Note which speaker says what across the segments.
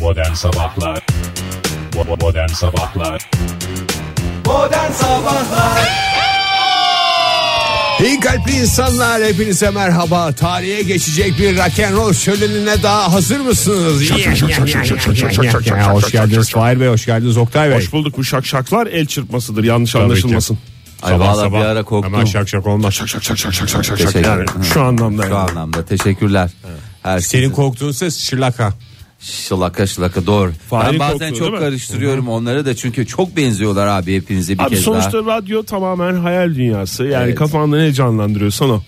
Speaker 1: Modern Sabahlar Bo- Modern Sabahlar
Speaker 2: Modern Sabahlar
Speaker 3: İyi kalpli insanlar hepinize merhaba. Tarihe geçecek bir rock and roll şölenine daha hazır mısınız? Ya, hoş geldiniz Fahir Bey, hoş geldiniz Oktay Bey.
Speaker 4: Hoş bulduk bu şakşaklar el çırpmasıdır yanlış anlaşılmasın.
Speaker 2: Ay valla bir ara korktum
Speaker 3: Hemen şak şak olmaz. Şak şak şak şak şak şak şak.
Speaker 2: Teşekkür-
Speaker 4: Yani şu anlamda
Speaker 2: Şu
Speaker 4: yani.
Speaker 2: anlamda teşekkürler Herkese.
Speaker 3: Senin korktuğun ses şırlaka.
Speaker 2: Şılaka şılaka doğru
Speaker 4: Fahir'in
Speaker 2: Ben bazen
Speaker 4: korktuğu,
Speaker 2: çok
Speaker 4: değil mi?
Speaker 2: karıştırıyorum onları da Çünkü çok benziyorlar abi hepinizi bir
Speaker 4: Abi
Speaker 2: kez
Speaker 4: sonuçta
Speaker 2: daha
Speaker 4: radyo tamamen hayal dünyası. Yani
Speaker 2: Evet.
Speaker 4: kafanda ne canlandırıyorsan o.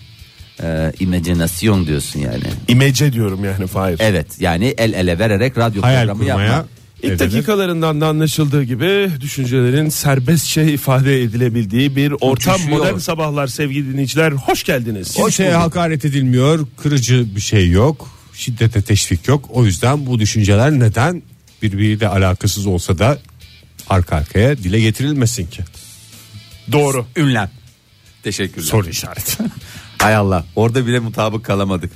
Speaker 2: ee, imaginasyon diyorsun yani
Speaker 4: İmece diyorum yani Fahir.
Speaker 2: Evet yani el ele vererek radyo
Speaker 3: Hayal
Speaker 2: programı
Speaker 3: kurmaya.
Speaker 2: yapmak
Speaker 4: İlk
Speaker 3: ne denir?
Speaker 4: dakikalarından da anlaşıldığı gibi düşüncelerin serbestçe ifade edilebildiği bir ortam.
Speaker 2: Uçuşuyor.
Speaker 4: Modern sabahlar sevgili dinleyiciler hoş geldiniz.
Speaker 3: Kimseye hakaret edilmiyor, kırıcı bir şey yok, şiddete teşvik yok. O yüzden bu düşünceler neden birbiriyle alakasız olsa da arka arkaya dile getirilmesin ki.
Speaker 4: Doğru.
Speaker 2: Ünlem Teşekkürler
Speaker 3: Soru işareti.
Speaker 2: Hay Allah orada bile mutabık kalamadık.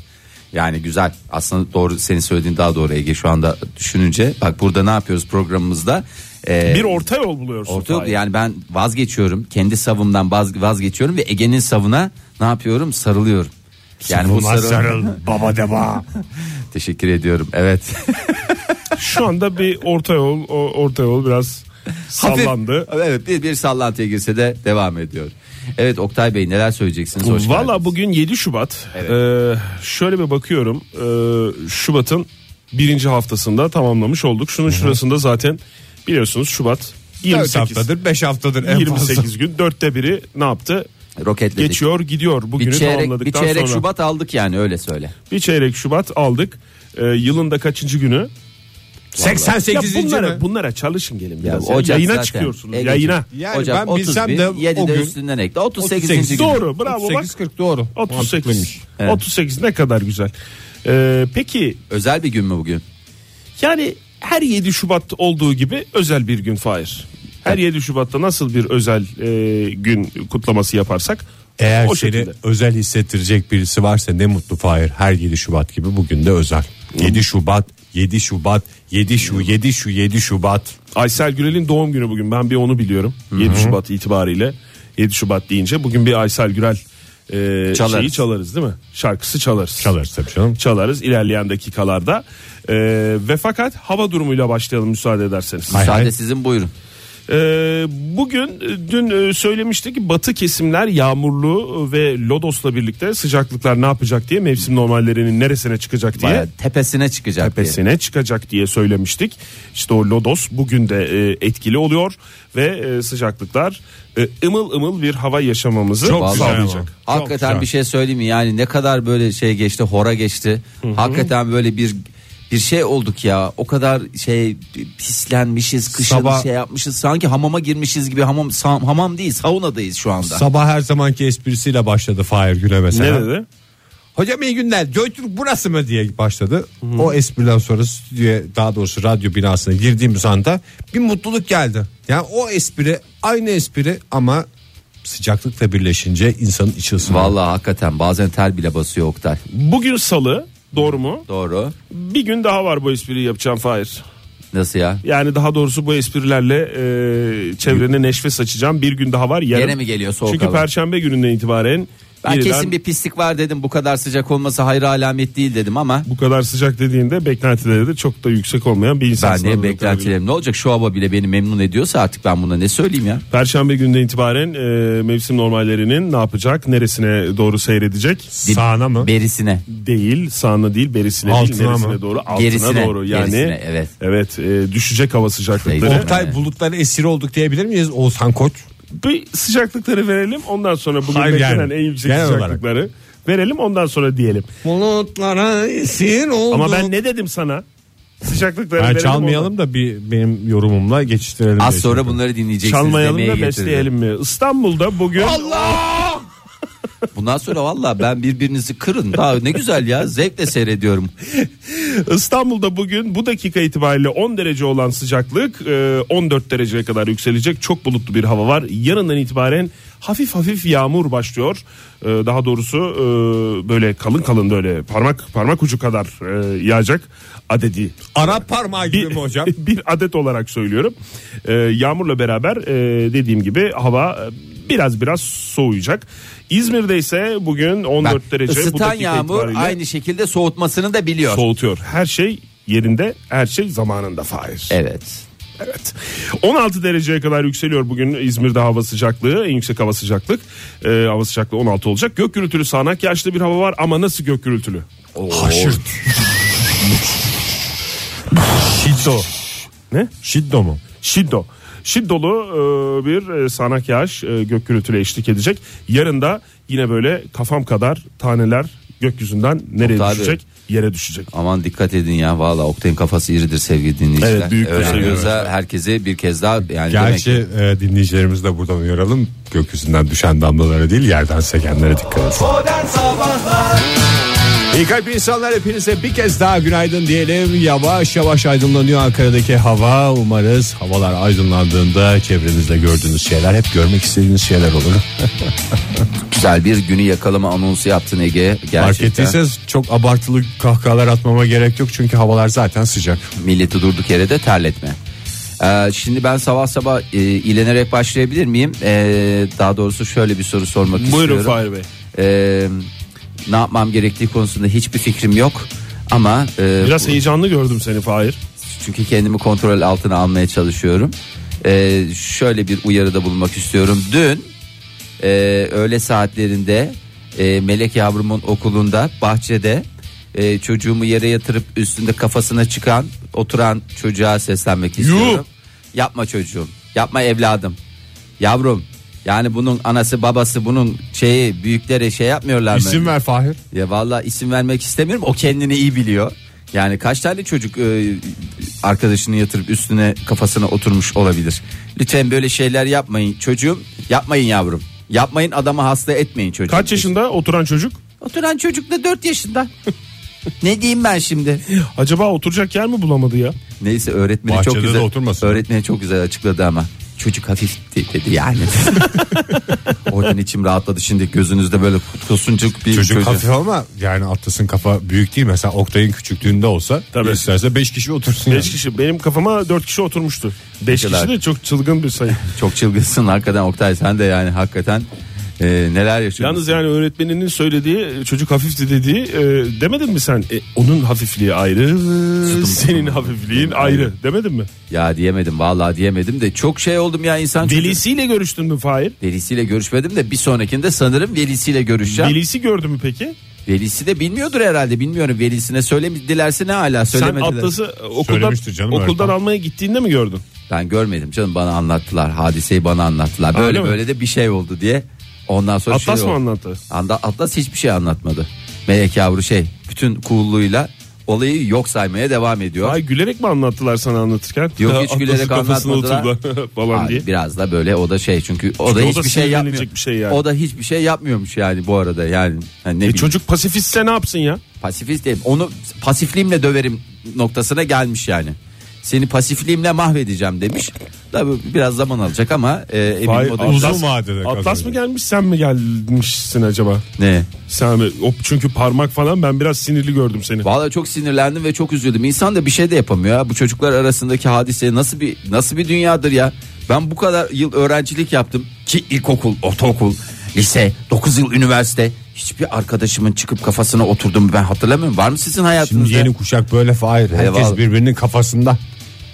Speaker 2: Yani güzel aslında doğru senin söylediğin daha doğru Ege şu anda düşününce. Bak burada ne yapıyoruz programımızda? Ee,
Speaker 4: Bir orta yol buluyorsun.
Speaker 2: orta yol-
Speaker 4: Fahir.
Speaker 2: yani ben vazgeçiyorum. Kendi savımdan vaz- vazgeçiyorum ve Ege'nin savına ne yapıyorum? Sarılıyorum. Yani bu sarıl-
Speaker 3: baba deva.
Speaker 2: Teşekkür ediyorum. Evet.
Speaker 4: Şu anda bir orta yol o orta yol biraz sallandı.
Speaker 2: Hafif- evet bir, bir sallantıya girse de devam ediyor. Evet Oktay Bey neler söyleyeceksiniz? Hoş
Speaker 4: Valla
Speaker 2: geldiniz.
Speaker 4: bugün 7 Şubat.
Speaker 2: Evet.
Speaker 4: Ee, şöyle bir bakıyorum. Ee, Şubat'ın birinci haftasında tamamlamış olduk. Şunun şurasında zaten biliyorsunuz Şubat
Speaker 3: 4
Speaker 4: 28.
Speaker 3: haftadır 5 haftadır en fazla.
Speaker 4: 28 gün dörtte biri ne yaptı?
Speaker 2: roketledik.
Speaker 4: Geçiyor gidiyor bugünü
Speaker 2: bir çeyrek, bir
Speaker 4: tamamladıktan
Speaker 2: çeyrek
Speaker 4: sonra.
Speaker 2: Şubat aldık yani öyle söyle.
Speaker 4: Bir çeyrek Şubat aldık. Ee, yılın da kaçıncı günü? Ya
Speaker 3: 88.
Speaker 4: bunlara,
Speaker 3: mi?
Speaker 4: bunlara çalışın gelin
Speaker 2: Ya
Speaker 4: biraz. Ya,
Speaker 2: Ocak
Speaker 4: yayına
Speaker 2: zaten.
Speaker 4: çıkıyorsunuz
Speaker 2: Egeciğim.
Speaker 4: yayına.
Speaker 3: Yani ben bilsem de
Speaker 2: yedi
Speaker 3: o
Speaker 2: de
Speaker 3: gün-
Speaker 2: üstünden ekle. 38.
Speaker 3: 38.
Speaker 2: gün.
Speaker 4: Doğru bravo bak.
Speaker 3: 38-40 doğru.
Speaker 4: 38.
Speaker 3: Mantıklıymış.
Speaker 2: Evet.
Speaker 4: 38 ne kadar güzel. Ee, peki
Speaker 2: Özel bir gün mü bugün?
Speaker 4: Yani her 7 Şubat olduğu gibi özel bir gün Fahir. Her 7 Şubat'ta nasıl bir özel e, gün kutlaması yaparsak
Speaker 3: Eğer
Speaker 4: o
Speaker 3: seni
Speaker 4: şekilde.
Speaker 3: özel hissettirecek birisi varsa ne mutlu Fahir. Her 7 Şubat gibi bugün de özel. 7 Şubat, 7 Şubat, 7 şu, 7 şu, 7 Şubat.
Speaker 4: Aysel Gürel'in doğum günü bugün. Ben bir onu biliyorum. 7 Şubat itibariyle 7 Şubat deyince bugün bir Aysel Gürel e,
Speaker 2: Çalarız.
Speaker 4: şeyi çalarız değil mi? Şarkısı çalarız.
Speaker 3: Çalarız tabii canım.
Speaker 4: Çalarız ilerleyen dakikalarda. E, ve fakat hava durumuyla başlayalım müsaade ederseniz.
Speaker 3: Hay hay.
Speaker 2: Müsaade sizin buyurun.
Speaker 4: Ee, bugün e, dün e, söylemiştik ki batı kesimler yağmurlu ve lodosla birlikte sıcaklıklar ne yapacak diye mevsim normallerinin neresine çıkacak diye
Speaker 2: Bayağı tepesine çıkacak diye.
Speaker 4: tepesine çıkacak diye söylemiştik. İşte o lodos bugün de e, etkili oluyor ve e, sıcaklıklar e, ımıl ımıl bir hava yaşamamızı
Speaker 3: Çok güzel
Speaker 4: sağlayacak.
Speaker 3: ama.
Speaker 2: Hakikaten
Speaker 3: güzel.
Speaker 2: bir şey söyleyeyim mi? Yani ne kadar böyle şey geçti, hora geçti. Hakikaten böyle bir bir şey olduk ya. O kadar şey pislenmişiz, kışın
Speaker 3: Sabah-
Speaker 2: şey yapmışız. Sanki hamama girmişiz gibi hamam sa- hamam değil, saunadayız şu anda.
Speaker 3: Sabah her zamanki esprisiyle başladı Fahir güne mesela.
Speaker 4: Ne dedi?
Speaker 3: Hocam iyi günler. Joytürk burası mı diye başladı. O espriden sonra stüdyoya daha doğrusu radyo binasına girdiğimiz anda bir mutluluk geldi. Yani o espri aynı espri ama sıcaklıkla birleşince insanın içi ısınıyor.
Speaker 2: Vallahi hakikaten bazen ter bile basıyor Oktay.
Speaker 4: Bugün salı doğru mu?
Speaker 2: Doğru.
Speaker 4: Bir gün daha var bu espriyi yapacağım Fahir.
Speaker 2: Nasıl ya?
Speaker 4: Yani daha doğrusu bu esprilerle e, çevrene neşve saçacağım. Bir gün daha var. Yarın.
Speaker 2: Gene mi geliyor soğuk
Speaker 4: Çünkü
Speaker 2: hava?
Speaker 4: perşembe gününden itibaren
Speaker 2: Ben
Speaker 4: yeniden
Speaker 2: kesin bir pislik var dedim. Bu kadar sıcak olması hayır alamet değil dedim ama
Speaker 4: bu kadar sıcak dediğinde beklentileri de çok da yüksek olmayan bir insan.
Speaker 2: ben de
Speaker 4: sınavına tabii.
Speaker 2: beklentilerim ne olacak? Şu hava bile beni memnun ediyorsa artık ben buna ne söyleyeyim ya?
Speaker 4: Perşembe gününden itibaren e, mevsim normallerinin ne yapacak? Neresine doğru seyredecek?
Speaker 3: Sağına mı?
Speaker 2: Berisine.
Speaker 4: Değil, sağına değil, berisine
Speaker 3: Altına
Speaker 4: değil, neresine
Speaker 3: mı?
Speaker 4: doğru? Altına
Speaker 2: Gerisine,
Speaker 4: doğru yani.
Speaker 2: gerisine, evet.
Speaker 4: Evet, e, düşecek hava sıcaklıkları.
Speaker 2: Değil.
Speaker 3: Oktay
Speaker 2: Evet.
Speaker 3: bulutların esiri olduk diyebilir miyiz Oğuzhan Koç?
Speaker 4: Bir sıcaklıkları verelim. Ondan sonra bugün
Speaker 3: Hayır,
Speaker 4: beklenen
Speaker 3: yani.
Speaker 4: en yüksek
Speaker 3: Genel olarak.
Speaker 4: sıcaklıkları verelim. Ondan sonra diyelim.
Speaker 3: Bulutlara esir olduk.
Speaker 4: Ama ben ne dedim sana? Sıcaklıkları verelim.
Speaker 3: çalmayalım da bir benim yorumumla geçiştirelim.
Speaker 2: Az
Speaker 3: diye
Speaker 2: sonra
Speaker 3: düşündüm.
Speaker 2: bunları dinleyeceksiniz
Speaker 4: Çalmayalım
Speaker 2: demeye
Speaker 4: da
Speaker 2: getirdim.
Speaker 4: besleyelim mi? İstanbul'da bugün
Speaker 2: Bundan sonra valla ben birbirinizi kırın. Daha ne güzel ya zevkle seyrediyorum.
Speaker 4: İstanbul'da bugün bu dakika itibariyle 10 derece olan sıcaklık e, 14 dereceye kadar yükselecek. Çok bulutlu bir hava var. Yarından itibaren hafif hafif yağmur başlıyor. E, Daha doğrusu e, böyle kalın kalın böyle parmak parmak ucu kadar e, yağacak adedi
Speaker 3: Arap parmağı gibi mi hocam?
Speaker 4: bir adet olarak söylüyorum. Ee, yağmurla beraber e, dediğim gibi hava e, biraz biraz soğuyacak. İzmir'de ise bugün 14
Speaker 2: Bak,
Speaker 4: derece bu
Speaker 2: ısıtan
Speaker 4: dakika
Speaker 2: yağmur
Speaker 4: itibariyle
Speaker 2: aynı şekilde soğutmasını da biliyor.
Speaker 4: soğutuyor. Her şey yerinde, her şey zamanında Faiz.
Speaker 2: evet.
Speaker 4: Evet. 16 dereceye kadar yükseliyor bugün İzmir'de hava sıcaklığı. En yüksek hava sıcaklık. Ee, hava sıcaklığı 16 olacak. Gök gürültülü sağanak yağışlı bir hava var ama nasıl gök gürültülü? Oh.
Speaker 3: Haşırt. Şiddo.
Speaker 4: Ne?
Speaker 3: Şiddo mu?
Speaker 4: Şiddo. Şiddolu e, bir e, sağanak yağış e, gök gürültüyle eşlik edecek. Yarın da yine böyle kafam kadar taneler gökyüzünden nereye
Speaker 2: Oktay abi.
Speaker 4: düşecek? Yere düşecek.
Speaker 2: Aman dikkat edin ya valla Oktay'ın kafası iridir sevgili dinleyiciler.
Speaker 4: Evet, büyük
Speaker 2: Öyle
Speaker 4: kafası
Speaker 2: diyorsa herkese bir kez daha yani
Speaker 3: Gerçi
Speaker 2: demek
Speaker 3: e, dinleyicilerimizi de buradan uyaralım. Gökyüzünden düşen damlalara değil yerden sekenlere dikkat edin. İyi kalp insanlar hepinize bir kez daha günaydın diyelim. Yavaş yavaş aydınlanıyor Ankara'daki hava. Umarız havalar aydınlandığında çevrenizde gördüğünüz şeyler hep görmek istediğiniz şeyler olur.
Speaker 2: güzel bir günü yakalama anonsu yaptın Ege.
Speaker 3: Fark
Speaker 2: Gerçekten
Speaker 3: ettiyseniz çok abartılı kahkahalar atmama gerek yok çünkü havalar zaten sıcak.
Speaker 2: milleti durduk yere de terletme. Ee, şimdi ben sabah sabah e, ilenerek başlayabilir miyim? Ee, daha doğrusu şöyle bir soru sormak istiyorum.
Speaker 4: Buyurun Fahir Bey.
Speaker 2: Ee, ne yapmam gerektiği konusunda hiçbir fikrim yok. Ama e,
Speaker 4: Biraz
Speaker 2: bu-
Speaker 4: heyecanlı gördüm seni Fahir.
Speaker 2: Çünkü kendimi kontrol altına almaya çalışıyorum. Ee, şöyle bir uyarıda bulunmak istiyorum. Dün e, öğle saatlerinde e, Melek yavrumun okulunda bahçede e, çocuğumu yere yatırıp üstünde kafasına çıkan oturan çocuğa seslenmek istiyorum. Yapma çocuğum, yapma evladım, yavrum. Yani bunun anası babası bunun şeyi büyüklere şey yapmıyorlar mı?
Speaker 3: İsim ver Fahir.
Speaker 2: Ya valla isim vermek istemiyorum. O kendini iyi biliyor. Yani kaç tane çocuk e, arkadaşını yatırıp üstüne kafasına oturmuş olabilir. Lütfen böyle şeyler yapmayın çocuğum. Yapmayın yavrum. Yapmayın adamı hasta etmeyin çocuğum.
Speaker 4: Kaç yaşında oturan çocuk?
Speaker 2: Oturan çocuk da 4 yaşında. ne diyeyim ben şimdi?
Speaker 4: Acaba oturacak yer mi bulamadı ya?
Speaker 2: Neyse öğretmeni çok
Speaker 3: Bahçede de
Speaker 2: güzel.
Speaker 3: oturmasın.
Speaker 2: Öğretmeni çok güzel açıkladı ama. Çocuk hafifti dedi yani. Oradan içim rahatladı. Şimdi gözünüzde böyle kusuncuk bir
Speaker 3: Çocuk
Speaker 2: çocuğun-
Speaker 3: hafif ama yani Atlas'ın kafa büyük değil mesela Oktay'ın küçüklüğünde olsa
Speaker 4: Tabii.
Speaker 3: isterse 5 kişi otursun. yani.
Speaker 4: 5 kişi. Benim kafama 4 kişi oturmuştu. 5
Speaker 2: kadar?
Speaker 4: kişi de çok çılgın bir sayı.
Speaker 2: Çok çılgınsın hakikaten Oktay sen de yani hakikaten e, neler yaşıyorsun.
Speaker 4: Yalnız yani öğretmeninin söylediği çocuk hafifti dediği e, demedin mi sen? E, onun hafifliği ayrı, senin hafifliğin ayrı demedin mi?
Speaker 2: Ya diyemedim vallahi diyemedim de çok şey oldum ya insan. çocuğu.
Speaker 4: Velisiyle görüştün mü Fahir?
Speaker 2: Velisiyle görüşmedim de bir sonrakinde sanırım velisiyle görüşeceğim.
Speaker 4: Velisi gördü mü peki?
Speaker 2: Velisi de bilmiyordur herhalde bilmiyorum velisine söylemedilerse ne hala
Speaker 4: Sen
Speaker 2: söylemediler.
Speaker 4: Atlas'ı e, okuldan,
Speaker 3: Söylemiştir canım
Speaker 4: okuldan
Speaker 3: öğretmen.
Speaker 4: almaya gittiğinde mi gördün?
Speaker 2: Ben görmedim canım bana anlattılar hadiseyi bana anlattılar. Böyle
Speaker 4: Öyle mi?
Speaker 2: böyle de bir şey oldu diye ondan sonra
Speaker 4: Atlas
Speaker 2: şey
Speaker 4: mı
Speaker 2: oldu.
Speaker 4: anlattı?
Speaker 2: Anda Atlas hiçbir şey anlatmadı. Melek yavru şey bütün coolluğuyla olayı yok saymaya devam ediyor.
Speaker 4: Ay gülerek mi anlattılar sana anlatırken?
Speaker 2: Yok,
Speaker 4: Ya,
Speaker 2: hiç gülerek
Speaker 4: Atlas'ın kafasına
Speaker 2: anlatmadılar.
Speaker 4: oturdu falan
Speaker 2: Abi
Speaker 4: diye.
Speaker 2: biraz da böyle o da şey çünkü o da
Speaker 4: o da
Speaker 2: hiçbir şey
Speaker 4: sinirlenecek
Speaker 2: yapmıyor.
Speaker 4: bir şey yani.
Speaker 2: O da hiçbir şey yapmıyormuş yani bu arada yani. yani ne
Speaker 4: E
Speaker 2: bileyim,
Speaker 4: çocuk pasifistse ne yapsın ya?
Speaker 2: pasifist değil. Onu pasifliğimle döverim noktasına gelmiş yani. Seni pasifliğimle mahvedeceğim demiş. Tabii biraz zaman alacak ama e, eminim
Speaker 4: Fahir,
Speaker 2: o da
Speaker 3: uzun vadede
Speaker 4: Atlas
Speaker 3: kazanacak.
Speaker 4: mı gelmiş sen mi gelmişsin acaba?
Speaker 2: ne?
Speaker 4: Sen mi? O çünkü parmak falan ben biraz sinirli gördüm seni.
Speaker 2: Vallahi çok sinirlendim ve çok üzüldüm. İnsan da bir şey de yapamıyor. ya. Bu çocuklar arasındaki hadise nasıl bir nasıl bir dünyadır ya? Ben bu kadar yıl öğrencilik yaptım ki ilkokul, ortaokul, lise, 9 yıl üniversite. Hiçbir arkadaşımın çıkıp kafasına oturdum ben hatırlamıyorum. Var mı sizin hayatınızda?
Speaker 3: Şimdi yeni kuşak böyle Fahir. Herkes
Speaker 2: Eyvallah.
Speaker 3: birbirinin kafasında.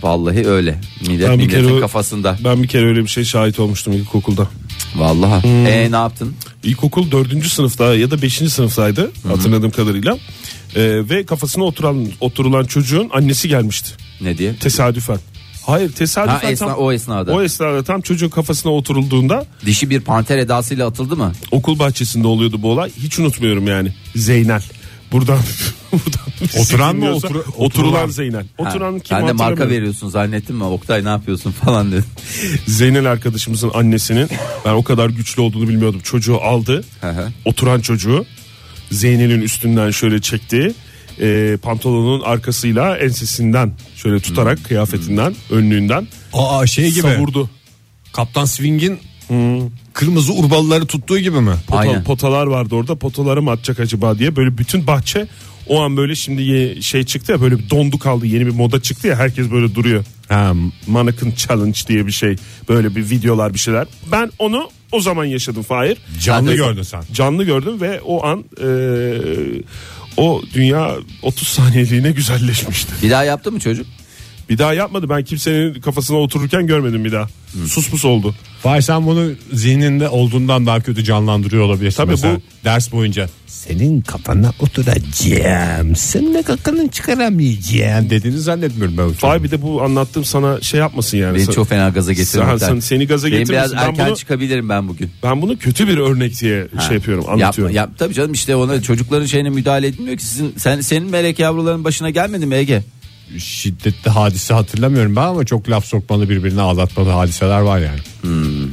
Speaker 2: Vallahi öyle. Millet
Speaker 4: Ben bir
Speaker 2: milletin
Speaker 4: kere-
Speaker 2: kafasında.
Speaker 4: Ben bir kere öyle bir şey şahit olmuştum ilkokulda.
Speaker 2: Vallahi.
Speaker 4: Hmm.
Speaker 2: E ne yaptın?
Speaker 4: İlkokul dördüncü sınıfta ya da beşinci sınıftaydı hatırladığım kadarıyla. Ee, ve kafasına oturan oturulan çocuğun annesi gelmişti
Speaker 2: Ne diye?
Speaker 4: tesadüfen. Hayır
Speaker 2: Ha,
Speaker 4: tesadüfen
Speaker 2: esna,
Speaker 4: tam,
Speaker 2: o esnada.
Speaker 4: o esnada tam çocuğun kafasına oturulduğunda
Speaker 2: Dişi bir panter edasıyla atıldı mı?
Speaker 4: okul bahçesinde oluyordu bu olay. Hiç unutmuyorum yani. Zeynel. Buradan, buradan bizi
Speaker 3: Oturan mı,
Speaker 4: dinliyorsa-
Speaker 3: otura-
Speaker 4: oturulan
Speaker 3: oturulan?
Speaker 4: Zeynel.
Speaker 2: Ha,
Speaker 4: Oturan kim
Speaker 2: ben de marka
Speaker 4: hatırlamıyorum.
Speaker 2: veriyorsun zannettim mi? Oktay ne yapıyorsun falan dedim.
Speaker 4: Zeynel arkadaşımızın annesinin ben o kadar güçlü olduğunu bilmiyordum. Çocuğu aldı.
Speaker 2: Hı hı.
Speaker 4: oturan çocuğu Zeynel'in üstünden şöyle çekti. E, pantolonun arkasıyla ensesinden şöyle tutarak kıyafetinden önlüğünden
Speaker 3: Aa şey gibi. Hmm.
Speaker 4: savurdu.
Speaker 3: Kaptan Swing'in kırmızı urbalıları tuttuğu gibi mi?
Speaker 4: Pota-
Speaker 2: Aynen.
Speaker 4: potalar vardı orada potaları mı atacak acaba diye böyle bütün bahçe O an böyle şimdi ye- şey çıktı ya böyle bir dondu kaldı yeni bir moda çıktı ya herkes böyle duruyor.
Speaker 3: Ha,
Speaker 4: Mannequin Challenge diye bir şey böyle bir videolar bir şeyler. Ben onu o zaman yaşadım Fahir.
Speaker 3: canlı
Speaker 2: Hadi.
Speaker 3: gördün sen.
Speaker 4: Canlı gördüm ve o an e, o dünya 30 saniyeliğine güzelleşmişti.
Speaker 2: Bir daha yaptı mı çocuk?
Speaker 4: Bir daha yapmadı ben kimsenin kafasına otururken görmedim bir daha.
Speaker 3: Hmm.
Speaker 4: Sus pus oldu.
Speaker 3: Fahir sen bunu zihninde olduğundan daha kötü canlandırıyor olabilirsin. Tabii
Speaker 4: mesela.
Speaker 3: bu ders boyunca. Senin kafana oturacağım. Senin de kakanı çıkaramayacağım dediğini zannetmiyorum ben. o çocuğun.
Speaker 4: Fahir bir de bu anlattığım sana şey yapmasın yani.
Speaker 2: Beni
Speaker 4: Sen-
Speaker 2: çok fena gaza getirdi.
Speaker 4: Sen-
Speaker 2: Oktay.
Speaker 4: sen- seni gaza
Speaker 2: Benim
Speaker 4: getirmesin.
Speaker 2: biraz
Speaker 4: Ben
Speaker 2: erken
Speaker 4: bunu-
Speaker 2: çıkabilirim ben bugün.
Speaker 4: Ben bunu kötü bir örnek diye şey yapıyorum anlatıyorum.
Speaker 2: Yap, yap, tabii canım işte ona çocukların şeyine müdahale edilmiyor ki. Sizin, sen, senin melek yavruların başına gelmedi mi Ege?
Speaker 3: şiddetli hadise hatırlamıyorum ben ama çok laf sokmalı birbirine ağlatmalı hadiseler var yani.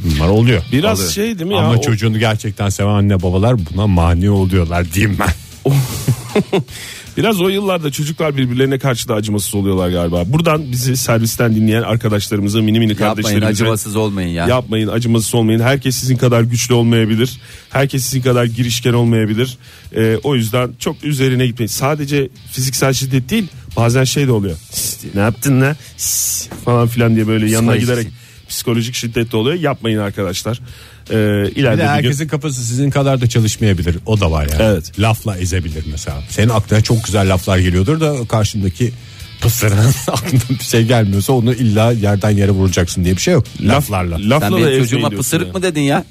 Speaker 3: Bunlar oluyor.
Speaker 4: Hmm. Biraz
Speaker 3: Oluyor.
Speaker 4: şey değil mi ya?
Speaker 3: Ama
Speaker 4: O-
Speaker 3: çocuğunu gerçekten seven anne babalar buna mani oluyorlar diyeyim ben.
Speaker 4: Biraz o yıllarda çocuklar birbirlerine karşı da acımasız oluyorlar galiba. Buradan bizi servisten dinleyen arkadaşlarımıza, mini mini
Speaker 2: Yapmayın
Speaker 4: kardeşlerimize
Speaker 2: acımasız olmayın ya.
Speaker 4: yapmayın, acımasız olmayın. Herkes sizin kadar güçlü olmayabilir. Herkes sizin kadar girişken olmayabilir. Ee, o yüzden çok üzerine gitmeyin. Sadece fiziksel şiddet değil, bazen şey de oluyor. ne yaptın lan? Şşş falan filan diye böyle yanına
Speaker 2: Psikolojik
Speaker 4: giderek psikolojik şiddet de oluyor. Yapmayın arkadaşlar. Ee,
Speaker 3: Bir
Speaker 4: ileride
Speaker 3: de
Speaker 4: bir gün-
Speaker 3: herkesin kafası sizin kadar da çalışmayabilir. O da var yani.
Speaker 4: Evet.
Speaker 3: Lafla ezebilir mesela. Senin aklına çok güzel laflar geliyordur da karşındaki pısırının aklına bir şey gelmiyorsa onu illa yerden yere vuracaksın diye bir şey yok. Laflarla.
Speaker 4: Lafla
Speaker 2: Sen
Speaker 4: da
Speaker 2: benim
Speaker 4: ezmeyin
Speaker 2: çocuğuma
Speaker 4: diyorsun
Speaker 2: pısırık
Speaker 4: yani.
Speaker 2: mı dedin ya?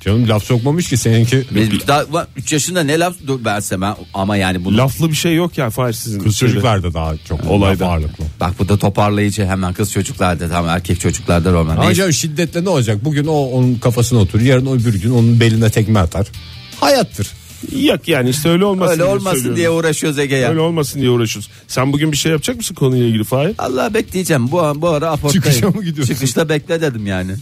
Speaker 3: Canım laf sokmamış ki seninki.
Speaker 2: Biz daha, ulan üç yaşında ne laf dur ben size ben- ama yani bunu
Speaker 4: Laflı bir şey yok ya Fahir sizin.
Speaker 3: Kız
Speaker 4: şeyde.
Speaker 3: çocuklarda daha çok
Speaker 4: Olayda.
Speaker 3: olayda ağırlıklı.
Speaker 2: bak bu da toparlayıcı hemen kız çocuklarda tamam erkek çocuklarda roman.
Speaker 3: Ama
Speaker 2: Neyse.
Speaker 3: canım şiddetle ne olacak? Bugün o onun kafasına oturur. Yarın öbür gün onun beline tekme atar. Hayattır.
Speaker 4: Yok yani işte öyle olmasın
Speaker 2: Öyle
Speaker 4: diye
Speaker 2: olmasın
Speaker 4: söylüyorum.
Speaker 2: diye uğraşıyoruz Ege ya.
Speaker 4: Öyle olmasın diye uğraşıyoruz. Sen bugün bir şey yapacak mısın konuyla ilgili Fahir?
Speaker 2: Allah bekleyeceğim. Bu an bu ara aporttayım.
Speaker 3: Çıkışa mı gidiyorsun?
Speaker 2: Çıkışta bekle dedim yani.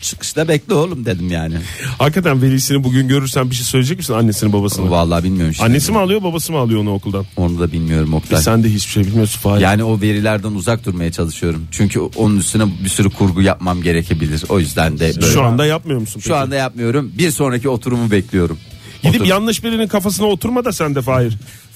Speaker 2: Çıkışta bekle oğlum dedim yani.
Speaker 4: Hakikaten velisini bugün görürsen bir şey söyleyecek misin annesini babasını?
Speaker 2: Vallahi şey bilmiyorum şimdi.
Speaker 4: Annesi mi alıyor babası mı alıyor onu okuldan?
Speaker 2: Onu da bilmiyorum Oktay.
Speaker 4: E sen de hiçbir şey bilmiyorsun Fahir.
Speaker 2: Yani o verilerden uzak durmaya çalışıyorum. Çünkü onun üstüne bir sürü kurgu yapmam gerekebilir. O yüzden de böyle.
Speaker 4: Şu anda yapmıyor musun?
Speaker 2: Şu
Speaker 4: peki?
Speaker 2: anda yapmıyorum. Bir sonraki oturumu bekliyorum.
Speaker 4: Gidip
Speaker 2: Otur-
Speaker 4: yanlış birinin kafasına oturma da sen de Fahir.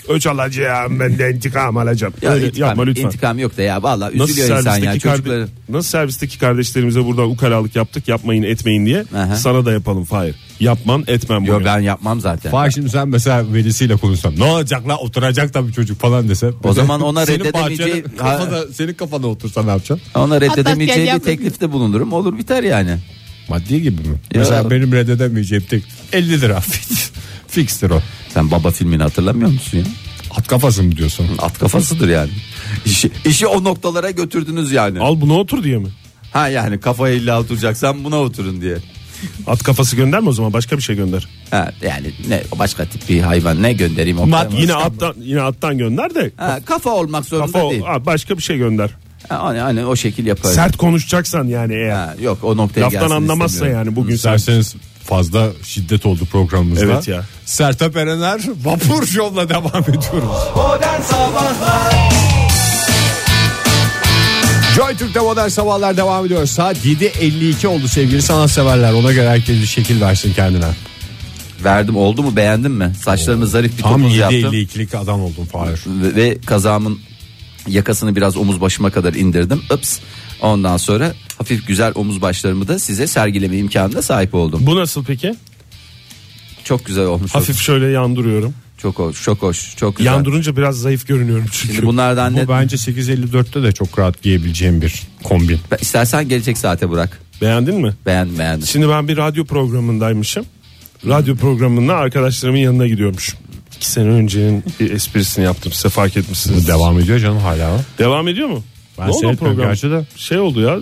Speaker 4: Öç alacağım ben de intikam alacağım.
Speaker 2: Ya
Speaker 4: Öyle
Speaker 2: intikam,
Speaker 4: yapma lütfen.
Speaker 2: intikam yok da ya valla
Speaker 4: Nasıl
Speaker 2: üzülüyor insan
Speaker 4: servisteki,
Speaker 2: ya
Speaker 4: karde-
Speaker 2: çocukları.
Speaker 4: Nasıl servisteki kardeşlerimize buradan ukalalık yaptık yapmayın etmeyin diye.
Speaker 2: Aha.
Speaker 4: Sana da yapalım Fahir. Yapmam etmem bunu.
Speaker 2: Yo ben yapmam zaten.
Speaker 3: Fahir şimdi sen mesela velisiyle konuşsan ne olacak la oturacak tabii çocuk falan dese.
Speaker 2: O zaman ona
Speaker 3: Senin
Speaker 2: reddedemeyeceği-
Speaker 3: bahçene- Kafada, senin kafana otursa ne yapacaksın?
Speaker 2: Ona reddedemeyeceği bir teklifte bulunurum. Olur biter yani.
Speaker 3: Maddi gibi mi? Mesela benim reddedemeyeceğim tek 50 lira. Fikstir o.
Speaker 2: Sen baba filmini hatırlamıyor musun ya?
Speaker 3: At kafası mı diyorsun?
Speaker 2: At kafasıdır yani. İşi, işi o noktalara götürdünüz yani.
Speaker 4: Al buna otur diye mi?
Speaker 2: Ha yani kafaya illa oturacaksan buna oturun diye.
Speaker 4: At kafası gönderme o zaman başka bir şey gönder.
Speaker 2: Ha yani ne başka tip bir hayvan ne göndereyim o
Speaker 4: Mat yine attan yine attan gönder de
Speaker 2: Ha, kafa olmak zorunda
Speaker 4: kafa
Speaker 2: değil.
Speaker 4: Aa, başka bir şey gönder.
Speaker 2: Ha, hani, hani o şekil yaparım.
Speaker 4: Sert konuşacaksan yani eğer.
Speaker 2: Ha, yok o noktaya
Speaker 4: Laftan
Speaker 2: gelsin
Speaker 4: anlamazsa
Speaker 2: istemiyorum.
Speaker 4: yani bugün sen
Speaker 3: İsterseniz fazla şiddet oldu programımızda.
Speaker 4: Evet ya.
Speaker 3: Sertab Erener Vapur Show'la devam ediyoruz. Joy Türk'te modern sabahlar devam ediyor. Saat 7.52 oldu sevgili sanatseverler. Ona göre herkes bir şekil versin kendine.
Speaker 2: Verdim oldu mu beğendin mi? Saçlarımı zarif bir
Speaker 3: Tam
Speaker 2: topuz yaptım.
Speaker 3: 7.52'lik adam oldum Fahir.
Speaker 2: ve, ve kazağımın yakasını biraz omuz başıma kadar indirdim. Ups. Ondan sonra hafif güzel omuz başlarımı da size sergileme imkanına sahip oldum.
Speaker 4: bu nasıl peki?
Speaker 2: Çok güzel olmuş.
Speaker 4: Hafif şöyle yandırıyorum.
Speaker 2: Çok hoş, çok hoş, çok güzel.
Speaker 4: Yandırınca biraz zayıf görünüyorum çünkü.
Speaker 2: Şimdi bunlardan ne?
Speaker 3: Bu bence 8.54'te de çok rahat giyebileceğim bir kombin.
Speaker 2: Ben- İstersen gelecek saate bırak.
Speaker 4: Beğendin mi?
Speaker 2: Beğendim beğendim.
Speaker 4: Şimdi ben bir radyo programındaymışım. Radyo programında arkadaşlarımın yanına gidiyormuşum. İki sene öncenin bir esprisini yaptım size fark
Speaker 3: Bu
Speaker 4: etmişsiniz.
Speaker 3: devam ediyor canım hala.
Speaker 4: Devam ediyor mu?
Speaker 3: Ben
Speaker 4: ne oldu o
Speaker 3: seyretmiyorum
Speaker 4: program?
Speaker 3: gerçi de.
Speaker 4: Şey oldu ya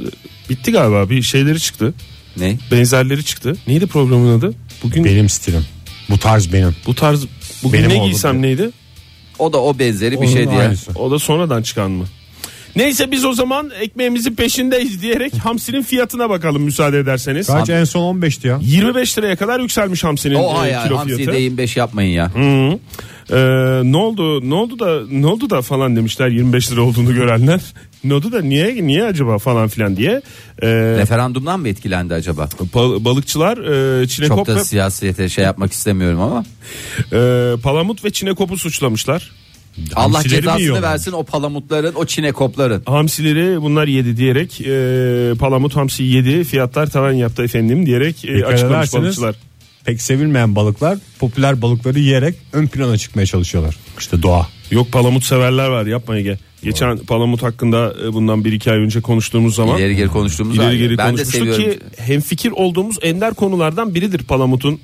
Speaker 4: bitti galiba bir şeyleri çıktı.
Speaker 2: Ne?
Speaker 4: Benzerleri çıktı. Neydi programın adı? Bugün
Speaker 3: Benim stilim. Bu tarz benim.
Speaker 4: bu tarz bugün
Speaker 3: Benim
Speaker 4: ne
Speaker 3: oldu
Speaker 4: giysem
Speaker 3: bu.
Speaker 4: neydi?
Speaker 2: O da o benzeri bir
Speaker 3: Onun
Speaker 2: şey diye.
Speaker 3: aynısı.
Speaker 4: O da sonradan çıkan mı? Neyse biz o zaman ekmeğimizin peşindeyiz diyerek hamsinin fiyatına bakalım müsaade ederseniz.
Speaker 3: Kaç en son 15'ti ya.
Speaker 4: 25 liraya kadar yükselmiş hamsinin
Speaker 2: O
Speaker 4: e,
Speaker 2: ay ay
Speaker 4: kilo
Speaker 2: hamsi
Speaker 4: fiyatı.
Speaker 2: de 25 yapmayın ya.
Speaker 4: Hı. Ee, ne oldu? Ne oldu da ne oldu da falan demişler 25 lira olduğunu görenler. ne oldu da niye niye acaba falan filan diye. Ee,
Speaker 2: Referandumdan mı etkilendi acaba?
Speaker 4: bal- balıkçılar e,
Speaker 2: Çok
Speaker 4: çinekop ve
Speaker 2: da siyasete şey yapmak istemiyorum ama.
Speaker 4: e, palamut ve çinekopu suçlamışlar.
Speaker 2: Allah
Speaker 4: Hamsileri mi
Speaker 2: cezasını
Speaker 4: yiyorlar?
Speaker 2: versin o palamutların, o çinekopların.
Speaker 4: Hamsileri bunlar yedi diyerek e, palamut hamsi yedi fiyatlar tavan yaptı efendim diyerek e,
Speaker 3: Dikkat
Speaker 4: açıklamış
Speaker 3: ederseniz
Speaker 4: balıkçılar.
Speaker 3: Pek sevilmeyen balıklar popüler balıkları yiyerek ön plana çıkmaya çalışıyorlar. İşte doğa.
Speaker 4: Yok palamut severler var yapma Ege. Geçen palamut hakkında e, bundan bir iki ay önce konuştuğumuz zaman
Speaker 2: İleri geri konuştuğumuz
Speaker 4: ileri
Speaker 2: halde.
Speaker 4: geri
Speaker 2: ben de
Speaker 4: konuşmuştuk
Speaker 2: seviyorum.
Speaker 4: ki hemfikir olduğumuz ender konulardan biridir palamutun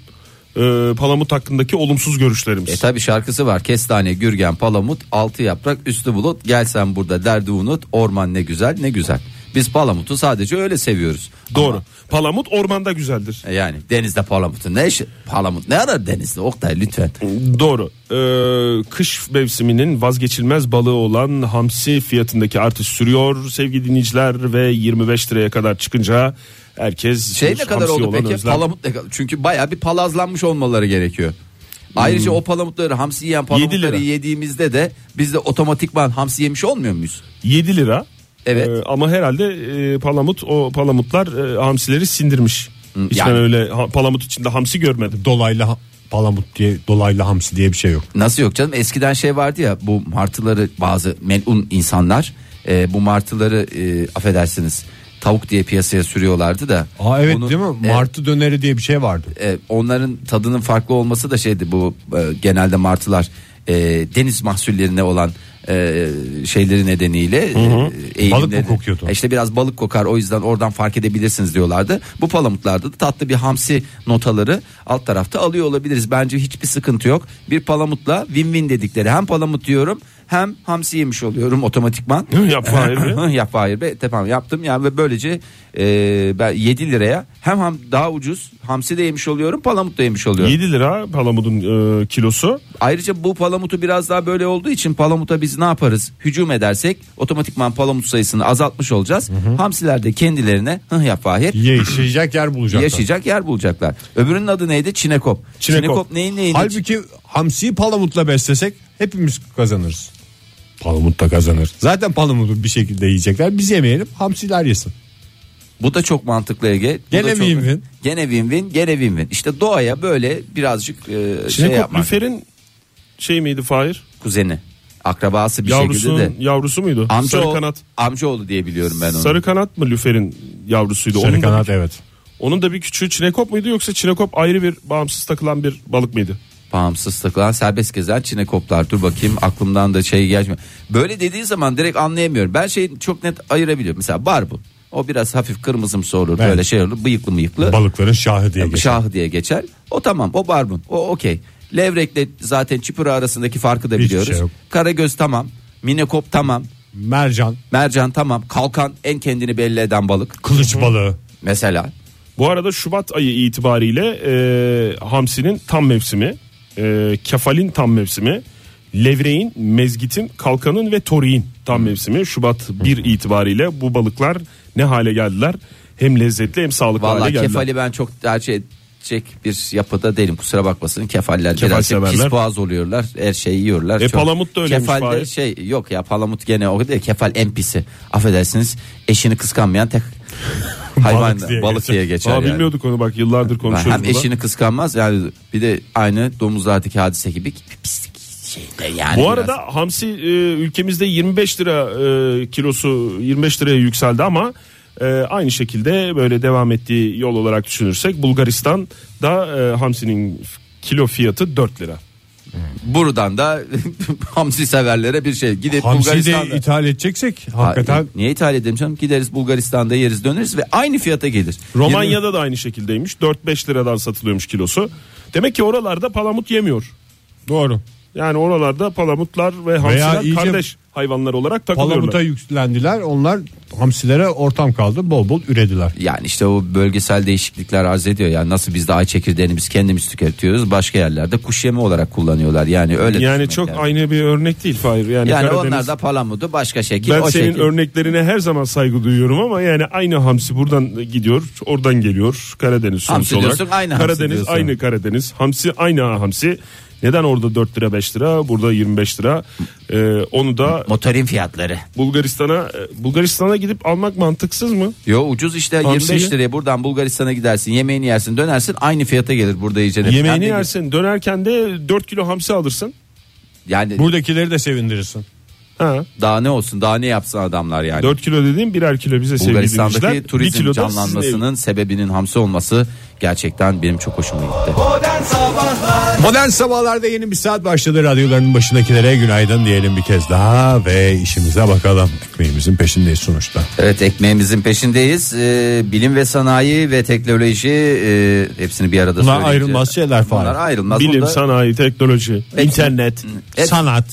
Speaker 4: e, palamut hakkındaki olumsuz görüşlerimiz.
Speaker 2: E tabi şarkısı var. Kestane, gürgen, palamut, altı yaprak, üstü bulut. Gel sen burada derdi unut. Orman ne güzel ne güzel. Biz palamutu sadece öyle seviyoruz.
Speaker 4: Doğru. Palamut ormanda güzeldir.
Speaker 2: Ama yani denizde palamutun ne işi? Palamut ne arar denizde? Oktay lütfen.
Speaker 4: Doğru. Ee, kış mevsiminin vazgeçilmez balığı olan hamsi fiyatındaki artış sürüyor sevgili dinleyiciler ve 25 liraya kadar çıkınca herkes
Speaker 2: Şey ne
Speaker 4: hamsi
Speaker 2: kadar oldu
Speaker 4: olan
Speaker 2: peki?
Speaker 4: özlem-
Speaker 2: Palamut ne kadar? Çünkü baya bir palazlanmış olmaları gerekiyor. Ayrıca o palamutları hamsi yiyen palamutları
Speaker 4: lira.
Speaker 2: yediğimizde de biz de otomatikman hamsi yemiş olmuyor muyuz?
Speaker 4: 7 lira.
Speaker 2: Evet.
Speaker 4: Ee, ama herhalde e, palamut o palamutlar e, hamsileri sindirmiş. Hiç
Speaker 2: yani.
Speaker 4: ben öyle ha- palamut içinde hamsi görmedim.
Speaker 3: Dolaylı ha- palamut diye dolaylı hamsi diye bir şey yok.
Speaker 2: Nasıl yok canım eskiden şey vardı ya bu martıları bazı melun insanlar e, bu martıları e, affedersiniz tavuk diye piyasaya sürüyorlardı da.
Speaker 3: Aa evet
Speaker 2: Bunu-
Speaker 3: değil mi? Martı döneri diye bir şey vardı.
Speaker 2: E, e, onların tadının farklı olması da şeydi bu e, genelde martılar e, deniz mahsullerine olan e, şeyleri nedeniyle e,
Speaker 3: Balık mı
Speaker 2: eğilimleri-
Speaker 3: kokuyordu?
Speaker 2: E, işte biraz balık kokar o yüzden oradan fark edebilirsiniz diyorlardı. Bu palamutlarda da tatlı bir hamsi notaları alt tarafta alıyor olabiliriz. Bence hiçbir sıkıntı yok. Bir palamutla win-win dedikleri hem palamut diyorum hem hamsi yemiş oluyorum otomatikman.
Speaker 4: Yapma hayır mı?
Speaker 2: Yap hayır be tamam yaptım yani ve böylece e, ben 7 liraya hem ham daha ucuz hamsi de yemiş oluyorum palamut da yemiş oluyorum.
Speaker 4: 7 lira palamutun e, kilosu.
Speaker 2: Ayrıca bu palamutu biraz daha böyle olduğu için palamuta biz ne yaparız? Hücum edersek otomatikman palamut sayısını azaltmış olacağız. Hamsiler de kendilerine hıh yap fahir
Speaker 3: Yaşayacak yer bulacaklar.
Speaker 2: yaşayacak yer bulacaklar. Öbürünün adı neydi? Çinekop.
Speaker 4: Çinekop.
Speaker 2: neyin neyini?
Speaker 3: Halbuki hamsiyi palamutla beslesek hepimiz kazanırız. Palamut da kazanır. Zaten palamutu bir şekilde yiyecekler. Biz yemeyelim hamsiler yesin.
Speaker 2: Bu da çok mantıklı Ege. Bu
Speaker 3: Gene
Speaker 2: da çok-
Speaker 3: win-win.
Speaker 2: Gene win win. Gene win win. İşte doğaya böyle birazcık e, şey
Speaker 4: Çinekop
Speaker 2: yapmak.
Speaker 4: lüferin şey miydi Fahir?
Speaker 2: Kuzeni. Akrabası bir
Speaker 4: Yavrusunun
Speaker 2: şekilde de.
Speaker 4: yavrusu muydu?
Speaker 2: Amca
Speaker 4: Sarı kanat.
Speaker 2: Amcaoğlu diye biliyorum ben onu.
Speaker 4: Sarı kanat mı lüferin yavrusuydu?
Speaker 3: Sarı
Speaker 4: onun,
Speaker 3: kanat
Speaker 4: da
Speaker 3: evet.
Speaker 4: bir, onun da bir küçüğü çinekop muydu yoksa çinekop ayrı bir bağımsız takılan bir balık mıydı?
Speaker 2: Bağımsız takılan serbest gezen çinekoplar. Dur bakayım aklımdan da şey geçmiyor. Böyle dediği zaman direkt anlayamıyorum. Ben şeyi çok net ayırabiliyorum. Mesela barbun. O biraz hafif kırmızımsı olur.
Speaker 3: Evet.
Speaker 2: Böyle şey olur. Bıyıklı mıyıklı.
Speaker 3: Balıkların şahı diye geçer.
Speaker 2: Şahı diye geçer. O tamam o barbun. O okey. Levrekle zaten çipura arasındaki farkı da
Speaker 3: Hiçbir
Speaker 2: biliyoruz.
Speaker 3: şey yok.
Speaker 2: Karagöz tamam. Minekop tamam.
Speaker 3: Mercan,
Speaker 2: Mercan tamam. Kalkan en kendini belli eden balık.
Speaker 3: kılıç balığı.
Speaker 2: Mesela.
Speaker 4: Bu arada Şubat ayı itibariyle e, hamsinin tam mevsimi, e, kefalin tam mevsimi, levreğin, mezgitin, kalkanın ve toriğin tam mevsimi. Şubat 1 itibariyle bu balıklar ne hale geldiler? Hem lezzetli hem sağlıklı hale
Speaker 2: Vallahi
Speaker 4: geldiler.
Speaker 2: kefali ben çok tercih edecek bir yapıda değilim kusura bakmasın kefaller
Speaker 4: Kefal
Speaker 2: birazcık
Speaker 4: severler.
Speaker 2: pis boğaz oluyorlar her şeyi yiyorlar.
Speaker 4: E, palamut da öyleymiş
Speaker 2: Kefal de
Speaker 4: Fahir.
Speaker 2: şey yok ya palamut gene o değil kefal en pisi affedersiniz eşini kıskanmayan tek hayvan balık
Speaker 3: diye
Speaker 2: diye
Speaker 3: geçer.
Speaker 2: geçer,
Speaker 4: Aa,
Speaker 2: yani.
Speaker 4: bilmiyorduk onu bak yıllardır konuşuyoruz.
Speaker 2: Hem
Speaker 4: bunu.
Speaker 2: eşini kıskanmaz yani bir de aynı domuzlardaki hadise gibi pislik şeyde yani.
Speaker 4: Bu
Speaker 2: biraz.
Speaker 4: arada hamsi e, ülkemizde 25 lira e, kilosu 25 liraya yükseldi ama e, aynı şekilde böyle devam ettiği yol olarak düşünürsek Bulgaristan'da e, hamsinin f- kilo fiyatı 4 lira.
Speaker 2: buradan da hamsi severlere bir şey gidip
Speaker 3: Hamsiyi
Speaker 2: Bulgaristan'da.
Speaker 3: de ithal edeceksek hakikaten
Speaker 2: Niye ithal edelim canım? Gideriz Bulgaristan'da yeriz döneriz ve aynı fiyata gelir. Yirmi-
Speaker 4: Romanya'da da aynı şekildeymiş. 4-5 liradan satılıyormuş kilosu. Demek ki oralarda palamut yemiyor.
Speaker 3: doğru.
Speaker 4: Yani oralarda palamutlar ve hamsiler
Speaker 3: iyice
Speaker 4: kardeş hayvanlar olarak
Speaker 3: Palamuta
Speaker 4: takılıyorlar.
Speaker 3: yüklendiler. Onlar hamsilere ortam kaldı. Bol bol ürediler.
Speaker 2: Yani işte o bölgesel değişiklikler arz ediyor. Yani nasıl biz de ay çekirdeğini biz kendimiz tüketiyoruz. Başka yerlerde kuş yemi olarak kullanıyorlar. Yani öyle
Speaker 4: Yani
Speaker 2: düşünmek
Speaker 4: çok
Speaker 2: lazım.
Speaker 4: aynı bir örnek değil Fahir. Yani,
Speaker 2: Yani
Speaker 4: Karadeniz-
Speaker 2: onlar da palamudu başka şekil
Speaker 4: Ben
Speaker 2: o
Speaker 4: senin
Speaker 2: şekil.
Speaker 4: örneklerine her zaman saygı duyuyorum ama yani aynı hamsi buradan gidiyor, oradan geliyor. Karadeniz
Speaker 2: Hamsi
Speaker 4: sonuç olarak.
Speaker 2: diyorsun, aynı hamsi
Speaker 4: Karadeniz
Speaker 2: diyorsun.
Speaker 4: aynı Karadeniz. Hamsi aynı hamsi. Neden orada 4 lira 5 lira, burada 25 lira? Ee, onu da
Speaker 2: Motorin fiyatları.
Speaker 4: Bulgaristan'a e, Bulgaristan'a gidip almak mantıksız mı?
Speaker 2: Yo ucuz işte
Speaker 4: Hamsiyi-
Speaker 2: 25 liraya buradan Bulgaristan'a gidersin. Yemeğini yersin dönersin aynı fiyata gelir burada yiyeceğin.
Speaker 4: Yemeğini
Speaker 2: Ben de-
Speaker 4: yersin, dönerken de 4 kilo hamsi alırsın.
Speaker 2: Yani
Speaker 3: Buradakileri de sevindirirsin.
Speaker 4: Ha.
Speaker 2: daha ne olsun daha ne yapsın adamlar yani.
Speaker 4: 4 kilo dediğim birer kilo bize sevgili dinleyiciler.
Speaker 2: Bulgaristan'daki
Speaker 4: Bir
Speaker 2: turizm
Speaker 4: kilo da sizin
Speaker 2: canlanmasının sebebinin hamsi olması gerçekten benim çok hoşuma gitti.
Speaker 3: Modern sabahlarda yeni bir saat başladı. Radyoların başındakilere günaydın diyelim bir kez daha ve işimize bakalım. Ekmeğimizin peşindeyiz sonuçta.
Speaker 2: Evet ekmeğimizin peşindeyiz. Ee, bilim ve sanayi ve teknoloji e, hepsini bir arada
Speaker 3: Bunlar
Speaker 2: söyleyince-
Speaker 3: ayrılmaz şeyler falan.
Speaker 2: Bunlar ayrılmaz.
Speaker 4: ev. Bilim,
Speaker 2: Bunda-
Speaker 4: sanayi, teknoloji, internet,
Speaker 2: Evet.
Speaker 3: Sanat,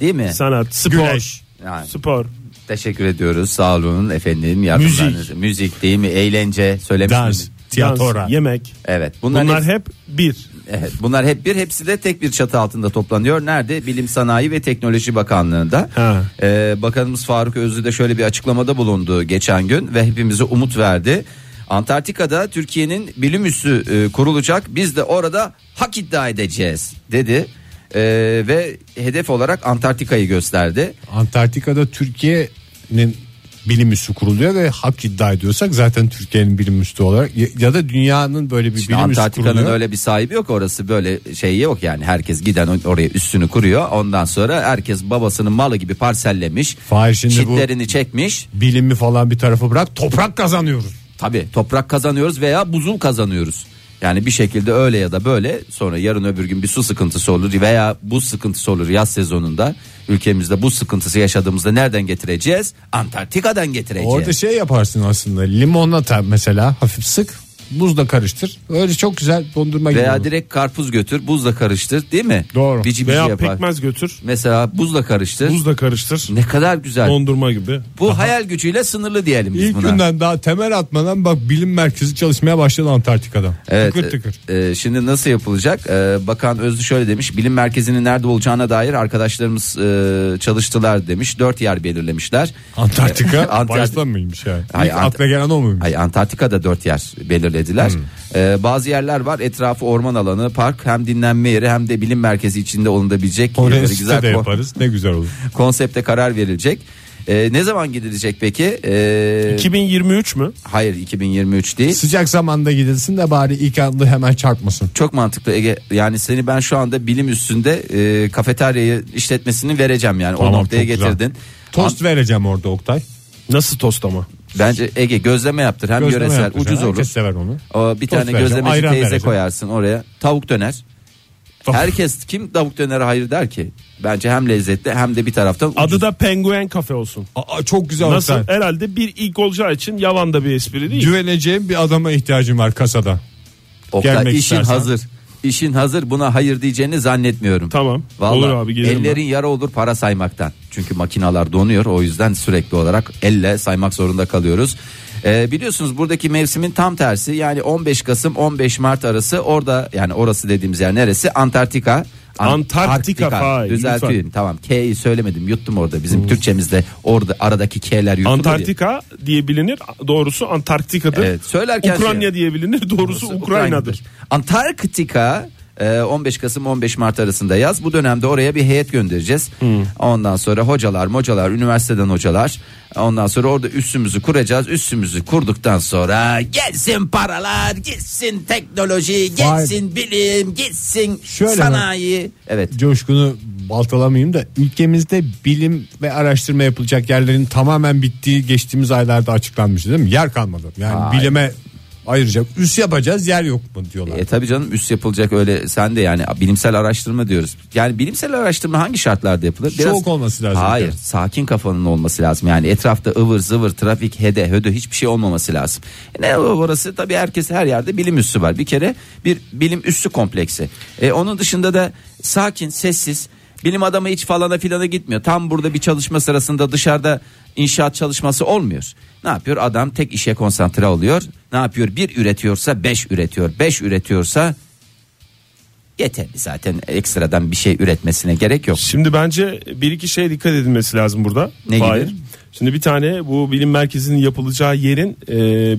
Speaker 2: Değil mi?
Speaker 4: sanat, spor.
Speaker 3: güneş.
Speaker 2: Yani,
Speaker 4: Spor.
Speaker 2: teşekkür ediyoruz. Sağ olun efendim. yardımlarınız- Müzik değil mi? Eğlence söylemiş
Speaker 3: Dans,
Speaker 2: miydim?
Speaker 3: tiyatro.
Speaker 4: dans, yemek.
Speaker 2: Evet. Bunlar,
Speaker 4: Bunlar
Speaker 2: hep,
Speaker 4: hep bir.
Speaker 2: evet, bunlar hep bir hepsi de tek bir çatı altında toplanıyor. Nerede? Bilim Sanayi ve Teknoloji Bakanlığı'nda.
Speaker 4: Ha.
Speaker 2: Ee, Bakanımız Faruk Özlü de şöyle bir açıklamada bulundu geçen gün ve hepimize umut verdi. Antarktika'da Türkiye'nin bilim üssü e, kurulacak. Biz de orada hak iddia edeceğiz dedi. Ee, ve hedef olarak Antarktika'yı gösterdi.
Speaker 3: Antarktika'da Türkiye'nin bilim üssü kuruluyor ve hak iddia ediyorsak zaten Türkiye'nin bilim üssü olarak ya- ya da dünyanın böyle bir
Speaker 2: İşte
Speaker 3: bilim üssü
Speaker 2: Antarktika'nın
Speaker 3: kuruluyor.
Speaker 2: öyle bir sahibi yok orası böyle şey yok yani herkes giden or- oraya üstünü kuruyor ondan sonra herkes babasının malı gibi parsellemiş
Speaker 3: Fahir şimdi bu-
Speaker 2: çitlerini çekmiş
Speaker 3: Bilimi falan bir tarafa bırak toprak kazanıyoruz.
Speaker 2: tabi toprak kazanıyoruz veya buzul kazanıyoruz yani bir şekilde öyle ya da böyle sonra yarın öbür gün bir su sıkıntısı olur veya buz sıkıntısı olur yaz sezonunda ülkemizde buz sıkıntısı yaşadığımızda nereden getireceğiz Antarktika'dan getireceğiz
Speaker 3: Orada şey yaparsın aslında limonata mesela hafif sık buzla karıştır. Öyle çok güzel dondurma gibi
Speaker 2: veya
Speaker 3: olur.
Speaker 2: direkt karpuz götür buzla karıştır değil mi
Speaker 3: Doğru.
Speaker 2: bici bici
Speaker 4: Veya
Speaker 2: yapar
Speaker 4: pekmez götür.
Speaker 2: mesela buzla karıştır
Speaker 4: Buzla karıştır.
Speaker 2: Ne kadar güzel.
Speaker 4: Dondurma gibi.
Speaker 2: Bu hayal gücüyle sınırlı diyelim biz
Speaker 3: İlk
Speaker 2: buna.
Speaker 3: günden daha temel atmadan bak bilim merkezi çalışmaya başladı Antarktika'da.
Speaker 2: Evet,
Speaker 3: tıkır tıkır.
Speaker 2: e, e, şimdi nasıl yapılacak? E, Bakan Özlü şöyle demiş. Bilim merkezinin nerede olacağına dair arkadaşlarımız e, çalıştılar demiş. Dört yer belirlemişler.
Speaker 3: Antarktika
Speaker 2: Antart-
Speaker 3: baştan mıymış yani?
Speaker 2: Hayır,
Speaker 3: İlk
Speaker 2: Ant-
Speaker 3: akla gelen o muymuş?
Speaker 2: Ay Antarktika'da dört yer belirlediler.
Speaker 3: Hmm.
Speaker 2: E, bazı yerler var. Etrafı orman alanı, park, hem dinlenme yeri hem de bilim merkezi içinde olunabilecek
Speaker 3: Oraya
Speaker 2: yerleri
Speaker 3: site de
Speaker 2: kon-
Speaker 3: yaparız ne güzel olur.
Speaker 2: konsepte karar verilecek. E, ne zaman gidilecek peki? E,
Speaker 4: 2023 mü?
Speaker 2: Hayır 2023 değil.
Speaker 3: Sıcak zamanda gidilsin de bari ilk adlı hemen çarpmasın.
Speaker 2: Çok mantıklı Ege. Yani seni ben şu anda bilim üstünde e, kafeteryayı işletmesini vereceğim yani. o
Speaker 3: Tamam,
Speaker 2: noktaya
Speaker 3: çok güzel.
Speaker 2: getirdin.
Speaker 3: Tost vereceğim orada Oktay.
Speaker 4: Nasıl tost ama?
Speaker 2: Bence Ege gözleme yaptır. Hem
Speaker 3: Gözleme
Speaker 2: göresel
Speaker 3: yapacağım.
Speaker 2: ucuz olur.
Speaker 3: Herkes sever onu.
Speaker 2: O, bir
Speaker 3: Tost
Speaker 2: tane
Speaker 3: vereceğim,
Speaker 2: gözlemeci
Speaker 3: ayran
Speaker 2: teyze
Speaker 3: vereceğim.
Speaker 2: koyarsın oraya. Tavuk döner.
Speaker 3: Of.
Speaker 2: Herkes kim tavuk dönere hayır der ki? Bence hem lezzetli hem de bir taraftan ucuz.
Speaker 4: Adı da Penguen Kafe olsun.
Speaker 3: Aa, çok güzel
Speaker 4: Nasıl?
Speaker 3: Oktay.
Speaker 4: Herhalde bir ilk olacağı için yavan da bir espri değil.
Speaker 3: Güveneceğim bir adama ihtiyacım var kasada.
Speaker 2: Oktay,
Speaker 3: gelmek
Speaker 2: işin
Speaker 3: istersen.
Speaker 2: hazır. İşin hazır buna hayır diyeceğini zannetmiyorum.
Speaker 4: Tamam.
Speaker 2: Vallahi
Speaker 4: Olur abi, gelirim
Speaker 2: ellerin yara olur para saymaktan. Çünkü makinalar donuyor o yüzden sürekli olarak elle saymak zorunda kalıyoruz. Ee, biliyorsunuz buradaki mevsimin tam tersi yani 15 Kasım 15 Mart arası orada yani orası dediğimiz yer neresi Antarktika. An-
Speaker 4: Antarktika,
Speaker 2: Arktika.
Speaker 4: Fahir,
Speaker 2: Düzelteyim tamam K'yi söylemedim yuttum orada bizim Türkçemizde orada aradaki K'ler yutulur.
Speaker 4: Hmm. Antarktika diye bilinir. Doğrusu Antarktika'dır.
Speaker 2: Evet, söylerken
Speaker 4: Ukrayna
Speaker 2: şey-
Speaker 4: diye bilinir. Doğrusu
Speaker 2: Burası
Speaker 4: Ukrayna'dır.
Speaker 2: Antarktika e, 15 Kasım 15 Mart arasında yaz. Bu dönemde oraya bir heyet göndereceğiz.
Speaker 3: Hmm.
Speaker 2: Ondan sonra hocalar, mocalar, üniversiteden hocalar. Ondan sonra orada üssümüzü kuracağız. Üssümüzü kurduktan sonra gelsin paralar, gitsin teknoloji,
Speaker 3: Vay.
Speaker 2: gelsin bilim, gitsin
Speaker 3: Şöyle mi?
Speaker 2: sanayi. Evet.
Speaker 3: Coşkunu baltalamayayım da ülkemizde bilim ve araştırma yapılacak yerlerin tamamen bittiği geçtiğimiz aylarda açıklanmıştı değil mi? Yer kalmadı. Yani
Speaker 2: Hayır.
Speaker 3: bilime ayıracak. Üs yapacağız yer yok mu diyorlar.
Speaker 2: E tabii canım üst yapılacak öyle sen de yani bilimsel araştırma diyoruz. Yani bilimsel araştırma hangi şartlarda yapılır?
Speaker 3: Soğuk olması lazım.
Speaker 2: Hayır
Speaker 3: Tabii.
Speaker 2: sakin kafanın olması lazım. Yani etrafta ıvır zıvır trafik hede hödö hiçbir şey olmaması lazım. E ne o- orası tabii herkes her yerde bilim üssü var. Bir kere bir bilim üssü kompleksi. E onun dışında da sakin sessiz bilim adamı hiç falana filana gitmiyor. Tam burada bir çalışma sırasında dışarıda inşaat çalışması olmuyor. Ne yapıyor? Adam tek işe konsantre oluyor. Ne yapıyor? Bir üretiyorsa beş üretiyor. Beş üretiyorsa yeterli zaten ekstradan bir şey üretmesine gerek yok.
Speaker 4: Şimdi bence bir iki şeye dikkat edilmesi lazım burada.
Speaker 2: Ne gibi?
Speaker 4: Şimdi bir tane bu bilim merkezinin yapılacağı yerin e,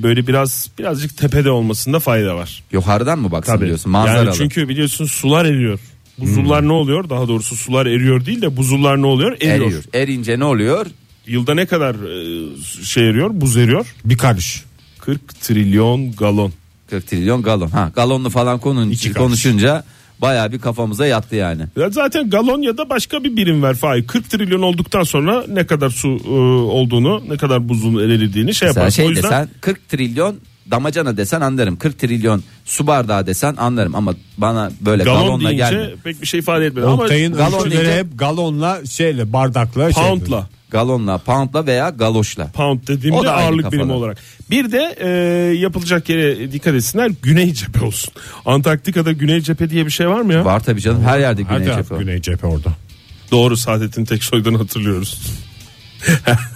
Speaker 4: böyle biraz birazcık tepede olmasında fayda var.
Speaker 2: Yukarıdan mı baksın
Speaker 4: Tabii.
Speaker 2: diyorsun manzaralı. Hmm.
Speaker 4: Yani çünkü biliyorsun sular eriyor. Buzullar ne oluyor? Daha doğrusu sular eriyor değil de buzullar ne oluyor? Eriyor.
Speaker 2: Eriyor. Erince ne oluyor?
Speaker 4: Yılda ne kadar e, şey eriyor? Buz eriyor.
Speaker 3: Bir karış.
Speaker 4: 40 trilyon galon.
Speaker 2: 40 trilyon galon. Ha galonlu falan konun,
Speaker 3: İki karış.
Speaker 2: konuşunca Bayağı bir kafamıza yattı yani.
Speaker 4: Ya zaten Galonya'da başka bir birim ver Fahir. 40 trilyon olduktan sonra ne kadar su e, olduğunu, ne kadar buzun eridiğini şey
Speaker 2: Mesela
Speaker 4: yaparsın.
Speaker 2: şey
Speaker 4: o yüzden
Speaker 2: desen 40 trilyon damacana desen anlarım. 40 trilyon su bardağı desen anlarım ama bana böyle
Speaker 4: galon,
Speaker 2: galonla
Speaker 4: deyince
Speaker 2: gelme.
Speaker 4: pek bir şey ifade etmedi. Ama
Speaker 3: Oktay'ın
Speaker 2: galon
Speaker 3: galon
Speaker 2: deyince-
Speaker 3: hep galonla şeyle bardakla şey
Speaker 4: poundla.
Speaker 2: Galonla, poundla veya galoşla.
Speaker 4: Pound
Speaker 2: O
Speaker 4: dediğimde
Speaker 2: da aynı
Speaker 4: ağırlık
Speaker 2: kafalar.
Speaker 4: birimi olarak. Bir de e, yapılacak yere dikkat etsinler. Güney cephe olsun. Antarktika'da güney cephe diye bir şey var mı ya?
Speaker 2: Var tabii canım her yerde
Speaker 3: Her
Speaker 2: güney
Speaker 3: taraf
Speaker 2: cephe.
Speaker 3: güney cephe orada.
Speaker 4: Doğru Saadettin Teksoy'dan hatırlıyoruz.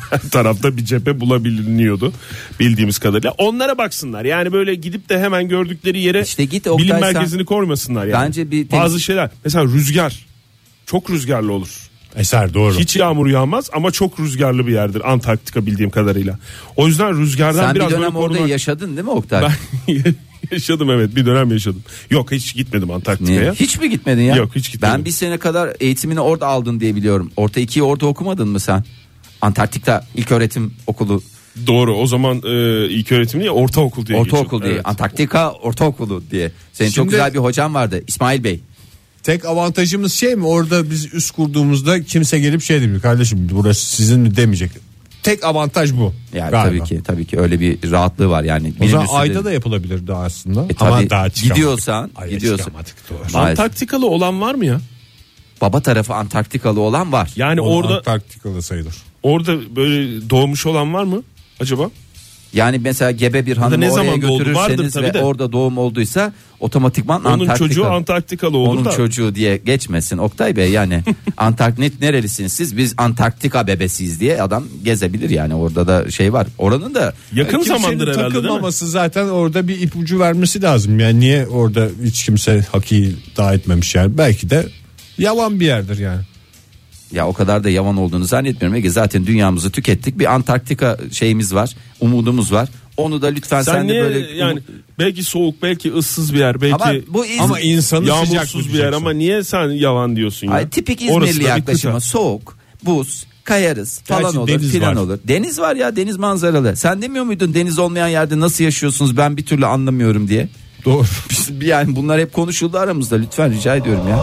Speaker 4: Her tarafta bir cephe bulabiliniyordu bildiğimiz kadarıyla. Onlara baksınlar. Yani böyle gidip de hemen gördükleri yere
Speaker 2: İşte git Oktay
Speaker 4: bilim
Speaker 2: sen-
Speaker 4: merkezini koymasınlar yani.
Speaker 2: Bence bir temiz-
Speaker 4: bazı şeyler mesela rüzgar çok rüzgarlı olur.
Speaker 3: Eser doğru.
Speaker 4: Hiç yağmur yağmaz ama çok rüzgarlı bir yerdir Antarktika bildiğim kadarıyla. O yüzden rüzgardan
Speaker 2: Sen
Speaker 4: biraz
Speaker 2: bir dönem
Speaker 4: böyle
Speaker 2: orada
Speaker 4: korunan-
Speaker 2: yaşadın değil mi Oktay?
Speaker 4: Ben yaşadım evet bir dönem yaşadım. Yok hiç gitmedim
Speaker 2: Niye?
Speaker 4: Antarktika'ya.
Speaker 2: Hiç mi gitmedin ya?
Speaker 4: Yok, hiç gitmedim.
Speaker 2: Ben bir sene kadar eğitimini orada aldın diye biliyorum. Orta ikiyi orada okumadın mı sen? Antarktika İlköğretim Okulu,
Speaker 4: Doğru o zaman e, ilk öğretim değil ortaokul diye
Speaker 2: ortaokul
Speaker 4: geçiyor.
Speaker 2: diye,
Speaker 4: Evet.
Speaker 2: Antarktika Ortaokulu diye. Senin çok
Speaker 3: Şimdi-
Speaker 2: güzel bir hocan vardı İsmail Bey.
Speaker 3: Tek avantajımız şey mi orada biz üst kurduğumuzda kimse gelip şey demiyor kardeşim burası sizin mi demeyecek. Tek avantaj bu.
Speaker 2: Yani
Speaker 3: galiba.
Speaker 2: tabii ki tabii ki öyle bir rahatlığı var yani.
Speaker 3: O
Speaker 2: Bilim
Speaker 3: zaman
Speaker 2: üstü
Speaker 3: ayda
Speaker 2: de-
Speaker 3: da yapılabilirdi aslında.
Speaker 2: E
Speaker 3: Ama
Speaker 2: tabii,
Speaker 3: daha çıkamadık.
Speaker 2: gidiyorsan-
Speaker 3: Ayda
Speaker 2: gidiyorsan.
Speaker 3: çıkamadık, doğru.
Speaker 2: Maalesef.
Speaker 4: Antarktikalı olan var mı ya?
Speaker 2: baba tarafı Antarktikalı olan var.
Speaker 4: Yani
Speaker 3: Onu
Speaker 4: Hani orada
Speaker 3: Antarktika'da sayılır.
Speaker 4: orada böyle doğmuş olan var mı acaba?
Speaker 2: Yani mesela gebe bir hanımı
Speaker 4: ne
Speaker 2: oraya
Speaker 4: zaman doğdu? Vardır
Speaker 2: götürürseniz
Speaker 4: tabii
Speaker 2: ve
Speaker 4: de.
Speaker 2: orada doğum olduysa otomatikman
Speaker 4: Onun
Speaker 2: Antarktikalı.
Speaker 4: çocuğu Antarktikalı olur
Speaker 2: Onun
Speaker 4: da.
Speaker 2: çocuğu diye geçmesin Oktay Bey yani Antarktik nerelisiniz siz biz Antarktika bebesiyiz diye adam gezebilir yani orada da şey var oranın da e,
Speaker 4: Yakın
Speaker 3: Kimsenin
Speaker 4: zamandır herhalde değil mi?
Speaker 3: takılmaması zaten orada bir ipucu vermesi lazım. Yani niye orada hiç kimse hakiyi daha etmemiş yani. Belki de yalan bir yerdir yani.
Speaker 2: ya o kadar da yavan olduğunu zannetmiyorum Ege zaten dünyamızı tükettik bir Antarktika şeyimiz var umudumuz var onu da lütfen sen,
Speaker 4: Sen,
Speaker 2: de
Speaker 4: niye
Speaker 2: böyle
Speaker 4: yani belki soğuk belki ıssız bir yer belki
Speaker 2: ama bu İz-
Speaker 3: Ama insanı sıcak
Speaker 4: yağmursuz bir yer ama niye sen yavan diyorsun ya?
Speaker 2: Ay, tipik
Speaker 4: Orası da
Speaker 2: İzmirli
Speaker 4: bir
Speaker 2: yaklaşımı
Speaker 4: kıta.
Speaker 2: soğuk buz kayarız falan
Speaker 3: Gerçi
Speaker 2: olur
Speaker 3: deniz
Speaker 2: filan
Speaker 3: var.
Speaker 2: olur. Deniz var ya deniz manzaralı. Sen demiyor muydun deniz olmayan yerde nasıl yaşıyorsunuz ben bir türlü anlamıyorum diye.
Speaker 3: Doğru.
Speaker 2: Biz- yani bunlar hep konuşuldu aramızda lütfen rica ediyorum ya.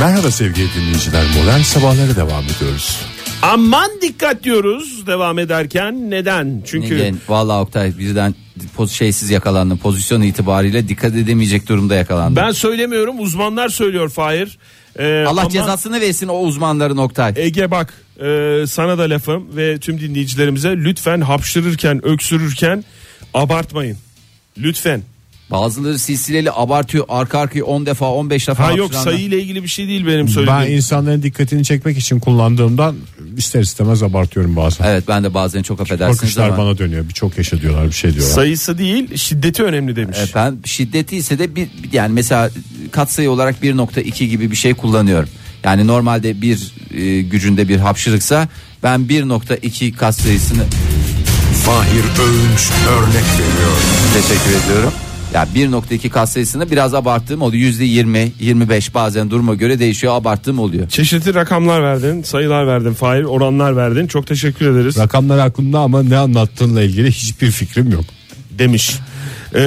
Speaker 3: Merhaba sevgili dinleyiciler. Modern sabahlara devam ediyoruz.
Speaker 4: Aman dikkat diyoruz devam ederken neden? Çünkü
Speaker 2: Neden? Vallahi Oktay birden poz şeysiz yakalandım. Pozisyon itibariyle dikkat edemeyecek durumda yakalandım.
Speaker 4: ben söylemiyorum uzmanlar söylüyor Fahir. Ee,
Speaker 2: Allah
Speaker 4: ama-
Speaker 2: cezasını versin o uzmanların Oktay.
Speaker 4: Ege bak e, sana da lafım ve tüm dinleyicilerimize lütfen hapşırırken öksürürken abartmayın. Lütfen.
Speaker 2: Bazıları silsileli abartıyor. Arka arkaya 10 defa 15 defa.
Speaker 4: Ha yok
Speaker 2: hapşıranlar.
Speaker 4: sayıyla ilgili bir şey değil benim
Speaker 3: Ben
Speaker 4: söylediğim.
Speaker 3: insanların dikkatini çekmek için kullandığımdan ister istemez abartıyorum bazen.
Speaker 2: Evet ben de bazen çok affedersiniz
Speaker 3: Bakışlar
Speaker 2: ama.
Speaker 3: bana dönüyor. Birçok yaşa diyorlar bir şey diyorlar.
Speaker 4: Sayısı değil şiddeti önemli demiş.
Speaker 2: Ben şiddeti ise de bir yani mesela katsayı olarak 1.2 gibi bir şey kullanıyorum. Yani normalde bir e, gücünde bir hapşırıksa ben 1.2 katsayısını
Speaker 5: Fahir Öğünç örnek veriyor.
Speaker 2: teşekkür ediyorum. Ya 1.2 katsayısını biraz abarttığım oluyor. %20, 25 bazen duruma göre değişiyor. Abarttığım oluyor.
Speaker 4: Çeşitli rakamlar verdin, sayılar verdin, fail oranlar verdin. Çok teşekkür ederiz
Speaker 3: Rakamlar aklımda ama ne anlattığınla ilgili hiçbir fikrim yok.
Speaker 4: demiş. Ee,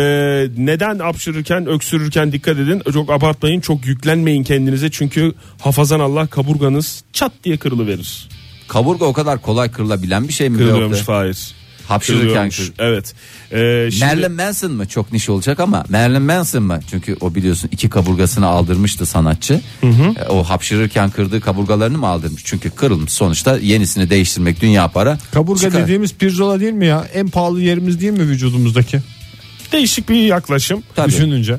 Speaker 4: neden hapşırırken, öksürürken dikkat edin. Çok abartmayın, çok yüklenmeyin kendinize. Çünkü hafazan Allah kaburganız çat diye kırılıverir.
Speaker 2: Kaburga o kadar kolay kırılabilen bir şey mi? be
Speaker 4: Kırılıyormuş
Speaker 2: yoksa?
Speaker 4: Fahir.
Speaker 2: Hapşırırken
Speaker 4: Kırılıyormuş.
Speaker 2: kır.
Speaker 4: Evet. Ee, şimdi-
Speaker 2: Marilyn Manson mı? Çok niş olacak ama Marilyn Manson mı? Çünkü o biliyorsun iki kaburgasını aldırmıştı sanatçı. E, O hapşırırken kırdığı kaburgalarını mı aldırmış? Çünkü kırılmış sonuçta yenisini değiştirmek dünya para.
Speaker 3: Kaburga
Speaker 2: Çıkar.
Speaker 3: dediğimiz pirzola değil mi ya? En pahalı yerimiz değil mi vücudumuzdaki?
Speaker 4: Değişik bir yaklaşım.
Speaker 2: Tabii.
Speaker 3: Düşününce.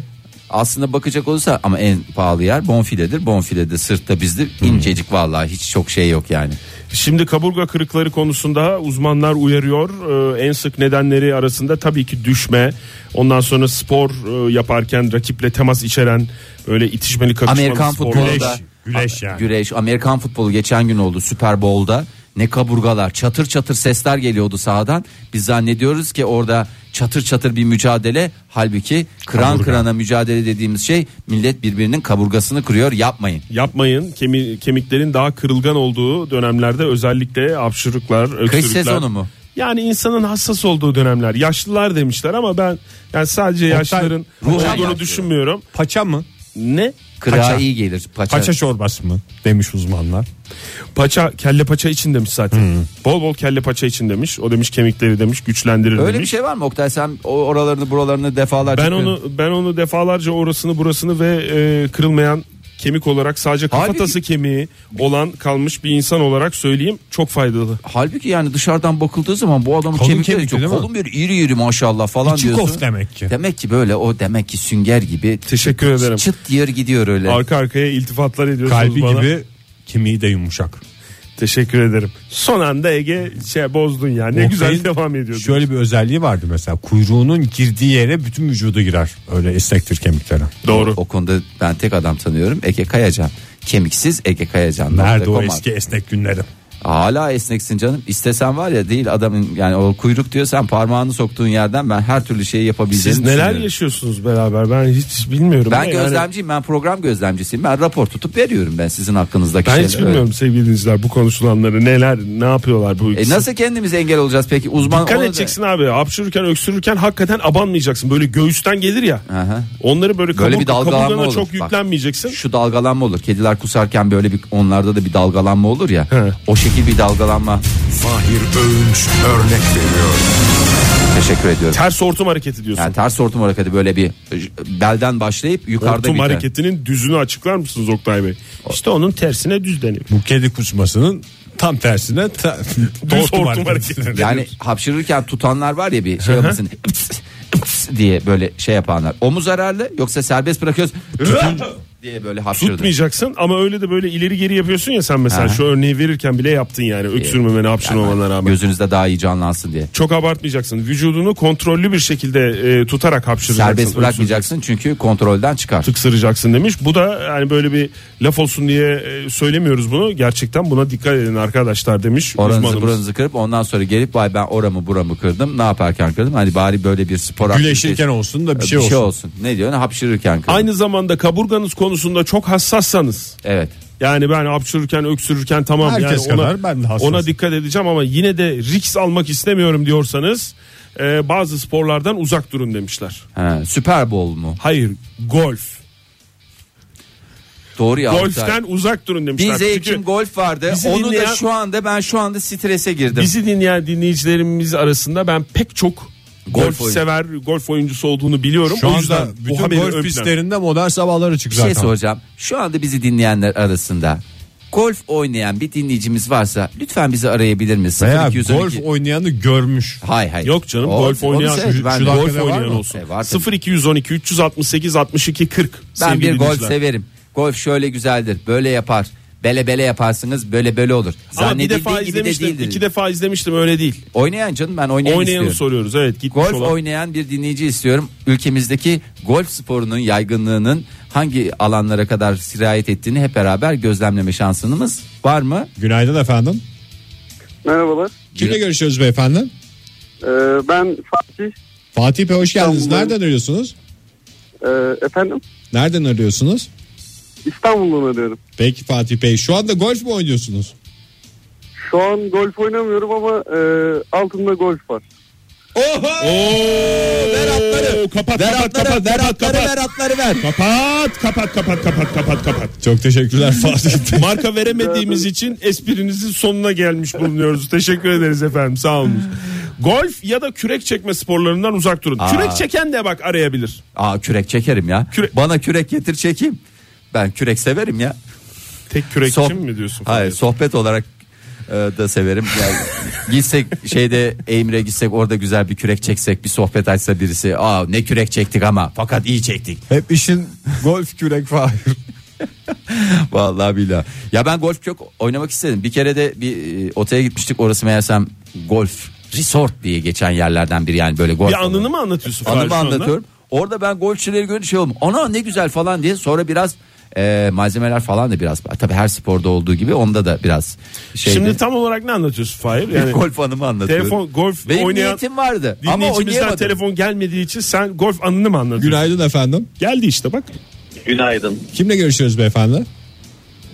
Speaker 2: Aslında bakacak olursa ama en pahalı yer bonfiledir. Bonfilede sırtta bizde incecik vallahi hiç çok şey yok yani.
Speaker 4: Şimdi kaburga kırıkları konusunda uzmanlar uyarıyor. Ee, en sık nedenleri arasında tabii ki düşme. Ondan sonra spor e, yaparken rakiple temas içeren böyle itişmeli kakışmalı
Speaker 2: Amerikan
Speaker 4: sporlar.
Speaker 2: futbolunda
Speaker 3: güreş yani.
Speaker 2: güreş Amerikan futbolu geçen gün oldu Super Bowl'da. Ne kaburgalar çatır çatır sesler geliyordu sahadan. Biz zannediyoruz ki orada çatır çatır bir mücadele halbuki kıran
Speaker 3: Kaburga.
Speaker 2: kırana mücadele dediğimiz şey millet birbirinin kaburgasını kırıyor yapmayın.
Speaker 4: Yapmayın. Kemi- kemiklerin daha kırılgan olduğu dönemlerde özellikle hapşırıklar, öksürükler.
Speaker 2: sezonu mu?
Speaker 4: Yani insanın hassas olduğu dönemler. Yaşlılar demişler ama ben yani sadece yaşlıların
Speaker 2: ruhen
Speaker 4: olduğunu
Speaker 2: yaşlı.
Speaker 4: düşünmüyorum.
Speaker 3: Paça mı?
Speaker 4: Ne?
Speaker 2: Kırağı iyi gelir. Paça.
Speaker 3: Paça çorbası mı? Demiş uzmanlar.
Speaker 4: Paça kelle paça için demiş zaten.
Speaker 2: Hmm.
Speaker 4: Bol bol kelle paça için demiş. O demiş kemikleri demiş güçlendirir
Speaker 2: Öyle bir
Speaker 4: demiş.
Speaker 2: şey var mı Oktay sen o- oralarını buralarını defalarca
Speaker 4: Ben
Speaker 2: kırın.
Speaker 4: onu ben onu defalarca orasını burasını ve e, kırılmayan kemik olarak sadece kafatası kemiği olan kalmış bir insan olarak söyleyeyim çok faydalı.
Speaker 2: Halbuki yani dışarıdan bakıldığı zaman bu adamın
Speaker 3: Kalın
Speaker 2: kemikleri
Speaker 3: kemikli
Speaker 2: çok
Speaker 3: değil mi?
Speaker 2: kolun bir iri iri maşallah falan
Speaker 3: İçi
Speaker 2: diyorsun.
Speaker 3: kof demek ki.
Speaker 2: Demek ki böyle o demek ki sünger gibi
Speaker 4: Teşekkür ederim.
Speaker 2: çıt diyor gidiyor öyle.
Speaker 4: Arka arkaya iltifatlar ediyorsunuz
Speaker 3: Kalbi
Speaker 4: bana.
Speaker 3: gibi kemiği de yumuşak.
Speaker 4: Teşekkür ederim. Son anda Ege şey bozdun ya. Ne güzel
Speaker 3: Oktay'ın
Speaker 4: devam ediyordun.
Speaker 3: Şöyle bir özelliği vardı mesela kuyruğunun girdiği yere bütün vücudu girer. Öyle esnektir kemikleri.
Speaker 4: Doğru.
Speaker 2: O konuda ben tek adam tanıyorum Ege Kayacan. Kemiksiz Ege Kayacan.
Speaker 3: Nerede
Speaker 2: Nokta
Speaker 3: o
Speaker 2: com
Speaker 3: eski esnek günlerim?
Speaker 2: Hala esneksin canım. İstesen var ya değil adamın yani o kuyruk diyor sen parmağını soktuğun yerden ben her türlü şeyi yapabileceğini
Speaker 4: Siz neler
Speaker 2: düşünüyorum.
Speaker 4: yaşıyorsunuz beraber? Ben hiç bilmiyorum.
Speaker 2: Ben
Speaker 4: Yani
Speaker 2: gözlemciyim ben program gözlemcisiyim ben rapor tutup veriyorum ben sizin hakkınızdaki
Speaker 4: Ben hiç
Speaker 2: şeyleri.
Speaker 4: bilmiyorum sevgili dinleyiciler bu konuşulanları neler ne yapıyorlar bu
Speaker 2: E
Speaker 4: ikisi.
Speaker 2: nasıl kendimize engel olacağız peki uzman
Speaker 4: Dikkat
Speaker 2: ona da-
Speaker 4: edeceksin abi. Hapşırırken öksürürken hakikaten abanmayacaksın. Böyle göğüsten gelir ya.
Speaker 2: Aha.
Speaker 4: Onları böyle,
Speaker 2: Böyle bir
Speaker 4: kabuk,
Speaker 2: dalgalanma
Speaker 4: kaburgana
Speaker 2: olur.
Speaker 4: çok
Speaker 2: Bak.
Speaker 4: yüklenmeyeceksin.
Speaker 2: Şu dalgalanma olur. Kediler kusarken böyle bir onlarda da bir dalgalanma olur ya.
Speaker 4: He.
Speaker 2: O şekil bir dalgalanma.
Speaker 5: Fahir Öğünç örnek veriyor.
Speaker 2: Teşekkür ediyorum.
Speaker 4: Ters hortum hareketi diyorsun.
Speaker 2: Yani ters hortum hareketi böyle bir belden başlayıp yukarıda
Speaker 4: hortum
Speaker 2: biter.
Speaker 4: hareketinin düzünü açıklar mısınız Oktay Bey? İşte onun tersine düz deniyor.
Speaker 3: Bu kedi kusmasının tam tersine ta,
Speaker 4: Düz
Speaker 3: hortum
Speaker 4: hortum hareketi.
Speaker 2: Yani hapşırırken tutanlar var ya bir şey yapmasın "Ips, ips" diye böyle şey yapanlar. O mu zararlı yoksa serbest bırakıyoruz diye böyle hapşırdı.
Speaker 4: Tutmayacaksın ama öyle de böyle ileri geri yapıyorsun ya sen mesela
Speaker 2: Aha. Şey,
Speaker 4: şu örneği verirken bile yaptın yani öksürmemene hapşırmamana rağmen.
Speaker 2: Gözünüzde daha iyi canlansın diye.
Speaker 4: Çok abartmayacaksın. Vücudunu kontrollü bir şekilde e, tutarak hapşıracaksın.
Speaker 2: Serbest
Speaker 4: Öksür-
Speaker 2: bırakmayacaksın çünkü kontrolden çıkar.
Speaker 4: tıksıracaksın demiş. Bu da yani böyle bir laf olsun diye e, söylemiyoruz bunu. Gerçekten buna dikkat edin arkadaşlar demiş
Speaker 2: Oranızı
Speaker 4: uzmanımız.
Speaker 2: buranızı kırıp ondan sonra gelip vay ben oramı buramı kırdım. Ne yaparken kırdım? Hani bari böyle bir spor
Speaker 3: Güleşirken
Speaker 2: aktivitesi- Ee,
Speaker 3: olsun da bir,
Speaker 2: bir
Speaker 3: şey, olsun.
Speaker 2: Ne diyorsun? Hapşırırken kırdım.
Speaker 4: Aynı zamanda kaburganız konusunda çok hassassanız
Speaker 2: Evet.
Speaker 4: yani ben hapşırırken öksürürken tamam
Speaker 3: Herkes
Speaker 4: yani ona,
Speaker 3: kadar ben de hassasım.
Speaker 4: ona dikkat edeceğim ama yine de risk almak istemiyorum diyorsanız e, bazı sporlardan uzak durun demişler.
Speaker 2: Ha, Süper Bowl mu?
Speaker 4: Hayır golf.
Speaker 2: Doğru ya.
Speaker 4: Golf'ten uzak durun demişler.
Speaker 2: Bir
Speaker 4: Çünkü
Speaker 2: zevkim golf vardı.
Speaker 4: bizi
Speaker 2: Onu
Speaker 4: dinleyen-
Speaker 2: da şu anda ben şu anda strese girdim.
Speaker 4: bizi dinleyen dinleyicilerimiz arasında ben pek çok golf,
Speaker 2: Golf oyuncu.
Speaker 4: sever, golf oyuncusu olduğunu biliyorum.
Speaker 3: Şu
Speaker 4: şey o
Speaker 3: anda
Speaker 4: yüzden bu
Speaker 3: bütün
Speaker 4: haberi ön
Speaker 3: golf
Speaker 4: plana-
Speaker 3: pistlerinde modern sabahlar açık
Speaker 2: Bir
Speaker 3: zaten.
Speaker 2: şey soracağım. Şu anda bizi dinleyenler arasında golf oynayan bir dinleyicimiz varsa lütfen bizi arayabilir mi?
Speaker 3: Veya
Speaker 2: 0212
Speaker 3: golf oynayanı görmüş.
Speaker 2: Hay hay.
Speaker 4: Yok canım
Speaker 2: O-
Speaker 4: golf
Speaker 2: onu
Speaker 4: oynayan
Speaker 2: sev-
Speaker 4: şu-
Speaker 2: ben
Speaker 4: şu
Speaker 2: golf
Speaker 4: golf
Speaker 2: oynayan
Speaker 4: oynayan
Speaker 2: var mı?
Speaker 4: olsun.
Speaker 2: E, var tabii.
Speaker 4: 0212 368 62 40.
Speaker 2: Ben bir
Speaker 4: sevgili
Speaker 2: golf
Speaker 4: dinleyiciler.
Speaker 2: severim. Golf şöyle güzeldir. Böyle yapar. Bele bele yaparsınız böyle böyle olur.
Speaker 4: Ama bir defa
Speaker 2: Zannedildiği gibi de
Speaker 4: izlemiştim.
Speaker 2: değildir.
Speaker 4: iki defa izlemiştim öyle değil.
Speaker 2: Oynayan canım ben oynayan
Speaker 4: Oynayanı
Speaker 2: istiyorum.
Speaker 4: soruyoruz. Evet gitmiş
Speaker 2: Golf
Speaker 4: olan.
Speaker 2: oynayan bir dinleyici istiyorum. Ülkemizdeki golf sporunun yaygınlığının hangi alanlara kadar sirayet ettiğini hep beraber gözlemleme şansımız var mı?
Speaker 3: Günaydın efendim.
Speaker 6: Merhabalar.
Speaker 3: Kimle görüşüyoruz beyefendi?
Speaker 6: Ee, ben Fatih.
Speaker 3: Fatih Bey hoş geldiniz.
Speaker 6: İstanbul'dan.
Speaker 3: Nereden arıyorsunuz?
Speaker 6: Ee, efendim
Speaker 3: Nereden arıyorsunuz?
Speaker 6: İstanbul'dan arıyorum.
Speaker 3: Peki Fatih Bey şu anda golf mu oynuyorsunuz?
Speaker 6: Şu an golf oynamıyorum ama e, altında golf var.
Speaker 3: Oha!
Speaker 2: Ver atları.
Speaker 4: Kapat
Speaker 2: Ver
Speaker 4: kapat
Speaker 2: atları,
Speaker 4: kapat
Speaker 2: ver
Speaker 4: kapat
Speaker 2: atları, ver
Speaker 4: kapat.
Speaker 2: atları ver.
Speaker 4: Kapat kapat kapat kapat kapat kapat.
Speaker 3: Çok teşekkürler Fatih Bey.
Speaker 4: Marka veremediğimiz için esprinizin sonuna gelmiş bulunuyoruz. Teşekkür ederiz efendim sağ olun. Golf ya da kürek çekme sporlarından uzak durun. Kürek çeken de bak arayabilir.
Speaker 2: Aa kürek çekerim ya.
Speaker 4: Kürek-
Speaker 2: Bana kürek getir çekeyim. Ben kürek severim ya.
Speaker 4: Tek kürekçi
Speaker 2: Soh-
Speaker 4: mi diyorsun?
Speaker 2: Hayır sohbet olarak e, da severim. Yani gitsek şeyde Eymre gitsek orada güzel bir kürek çeksek bir sohbet açsa birisi. Aa ne kürek çektik ama fakat iyi çektik.
Speaker 3: Hep işin golf kürek Fahir.
Speaker 2: Vallahi billahi. Ya ben golf çok oynamak istedim. Bir kere de bir e, otele gitmiştik. Orası meğersem golf resort diye geçen yerlerden biri yani böyle golf.
Speaker 4: Bir anını
Speaker 2: alanı.
Speaker 4: mı anlatıyorsun? Fahri
Speaker 2: Anımı
Speaker 4: şu anda?
Speaker 2: anlatıyorum. Orada ben golfçileri görünce şey oldum. Ana ne güzel falan diye sonra biraz e, malzemeler falan da biraz tabii her sporda olduğu gibi onda da biraz şeydi.
Speaker 4: Şimdi tam olarak ne anlatıyorsun Fahir?
Speaker 2: Bir
Speaker 4: Yani
Speaker 2: golf anımı anlatıyorum.
Speaker 4: Telefon- golf
Speaker 2: Benim
Speaker 4: oynayan
Speaker 2: niyetim vardı ama
Speaker 4: dinleyicimizden
Speaker 2: oynayamadım.
Speaker 4: telefon gelmediği için sen golf anını mı anlatıyorsun?
Speaker 3: Günaydın efendim.
Speaker 4: Geldi işte bak.
Speaker 7: Günaydın.
Speaker 3: Kimle görüşüyoruz beyefendi?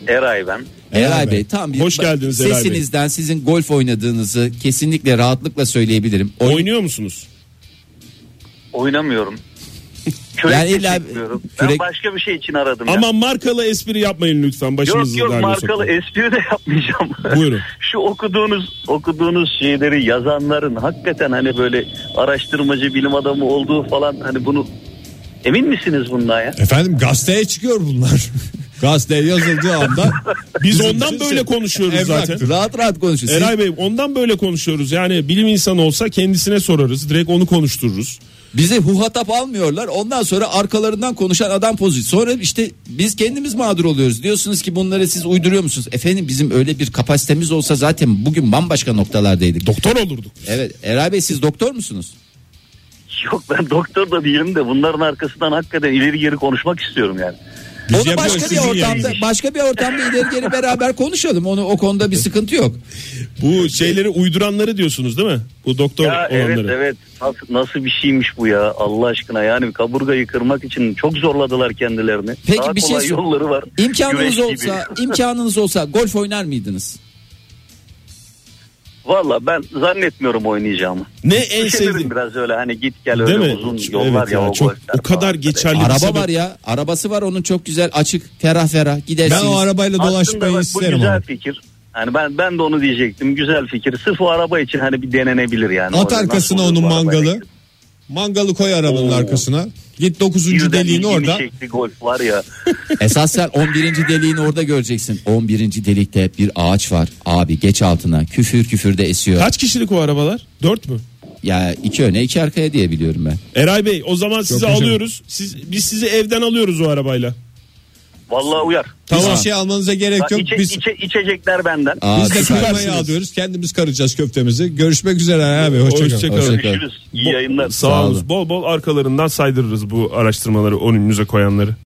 Speaker 7: Eray ben.
Speaker 2: Eray Bey tam bir
Speaker 4: Hoş geldiniz Eray Bey.
Speaker 2: sesinizden sizin golf oynadığınızı kesinlikle rahatlıkla söyleyebilirim. Oyn-
Speaker 4: Oynuyor musunuz?
Speaker 7: Oynamıyorum. Kürek
Speaker 2: Yani
Speaker 7: de
Speaker 2: illa-
Speaker 7: çekmiyorum. Ben
Speaker 2: kürek-
Speaker 7: başka bir şey için aradım ya.
Speaker 4: Ama markalı espri yapmayın lütfen.
Speaker 7: Yok
Speaker 4: Başımızı
Speaker 7: yok
Speaker 4: derde
Speaker 7: markalı
Speaker 4: sokmayın.
Speaker 7: espri de yapmayacağım.
Speaker 4: Buyurun.
Speaker 7: Şu okuduğunuz okuduğunuz şeyleri yazanların hakikaten hani böyle araştırmacı bilim adamı olduğu falan hani bunu emin misiniz bundan ya?
Speaker 3: Efendim gazeteye çıkıyor bunlar. Gazeteye yazıldığı anda
Speaker 4: Biz
Speaker 3: bizim
Speaker 4: ondan
Speaker 3: için
Speaker 4: böyle konuşuyoruz
Speaker 3: evraktır.
Speaker 4: zaten.
Speaker 2: Rahat rahat konuşun. Siz-
Speaker 4: Eray Bey ondan böyle konuşuyoruz. Yani bilim insanı olsa kendisine sorarız. Direkt onu konuştururuz.
Speaker 2: Bizi huhatap almıyorlar. Ondan sonra arkalarından konuşan adam pozisyon. Sonra işte biz kendimiz mağdur oluyoruz. Diyorsunuz ki bunları siz uyduruyor musunuz? Efendim bizim öyle bir kapasitemiz olsa zaten bugün bambaşka noktalardaydık.
Speaker 4: Doktor olurduk.
Speaker 2: evet Eray Bey siz doktor musunuz?
Speaker 7: Yok ben doktor da değilim de bunların arkasından hakikaten ileri geri konuşmak istiyorum yani.
Speaker 2: Onu
Speaker 4: yapıyoruz,
Speaker 2: başka bir
Speaker 4: sizin
Speaker 2: ortamda
Speaker 4: yeriniz.
Speaker 2: başka bir ortamda ileri geri beraber konuşalım. Onu o konuda bir sıkıntı yok.
Speaker 4: Bu şeyleri uyduranları diyorsunuz değil mi? Bu doktor
Speaker 7: Ya evet
Speaker 4: olanları.
Speaker 7: evet nasıl, nasıl bir şeymiş bu ya Allah aşkına yani kaburgayı kırmak için çok zorladılar kendilerini.
Speaker 2: Peki
Speaker 7: Daha
Speaker 2: bir şey
Speaker 7: kolay
Speaker 2: sor-
Speaker 7: yolları var.
Speaker 2: İmkanınız
Speaker 7: Güreş gibi.
Speaker 2: olsa, imkanınız olsa golf oynar mıydınız?
Speaker 7: Valla ben zannetmiyorum oynayacağımı.
Speaker 4: Ne en sevdiğin?
Speaker 7: Üşenirim biraz öyle hani git gel
Speaker 4: Değil
Speaker 7: öyle
Speaker 4: mi?
Speaker 7: uzun yollar
Speaker 4: Evet
Speaker 7: ya.
Speaker 4: ya,
Speaker 7: o
Speaker 4: çok
Speaker 7: golfler
Speaker 4: o kadar
Speaker 7: falan.
Speaker 4: geçerli bir
Speaker 2: Araba
Speaker 4: sebep.
Speaker 2: var ya, arabası var onun çok güzel açık, ferah ferah gidersiniz.
Speaker 3: ben o arabayla
Speaker 7: Aslında bak,
Speaker 3: dolaşmayı
Speaker 7: bu
Speaker 3: isterim
Speaker 7: güzel
Speaker 3: ama.
Speaker 7: fikir. Hani ben ben de onu diyecektim. Güzel fikir. Sırf o araba için hani bir denenebilir yani.
Speaker 3: At
Speaker 7: Orada
Speaker 3: arkasına
Speaker 7: nasıl
Speaker 3: onun
Speaker 7: olur bu arabayla
Speaker 3: mangalı.
Speaker 7: gidip.
Speaker 3: Mangalı koy arabanın
Speaker 7: Oo.
Speaker 3: arkasına. Git 9.
Speaker 7: Birden
Speaker 3: deliğini
Speaker 7: ilgimi
Speaker 3: orada.
Speaker 7: çekti golf var ya.
Speaker 2: Esas sen 11. deliğini orada göreceksin. 11. delikte bir ağaç var. Abi geç altına. Küfür küfür de esiyor.
Speaker 4: Kaç kişilik o arabalar? Dört mü?
Speaker 2: Ya iki öne iki arkaya diye biliyorum ben.
Speaker 4: Eray Bey o zaman sizi
Speaker 3: güzel.
Speaker 4: alıyoruz. Siz, biz sizi evden alıyoruz o arabayla.
Speaker 7: Vallahi uyar.
Speaker 3: Hiçbir
Speaker 2: Tamam.
Speaker 3: şey almanıza gerek yok.
Speaker 7: içe,
Speaker 3: Biz
Speaker 7: içe- içecekler benden.
Speaker 2: Aa,
Speaker 3: biz de
Speaker 2: süper.
Speaker 3: kıymayı alıyoruz. Kendimiz karacağız köftemizi. Görüşmek üzere abi. Hoşçakalın.
Speaker 4: Hoşça kalın.
Speaker 2: E, Hoşça kalın.
Speaker 7: Görüşürüz. İyi yayınlar.
Speaker 4: Sağ olun. Bol bol arkalarından saydırırız bu araştırmaları onun önünüze koyanları.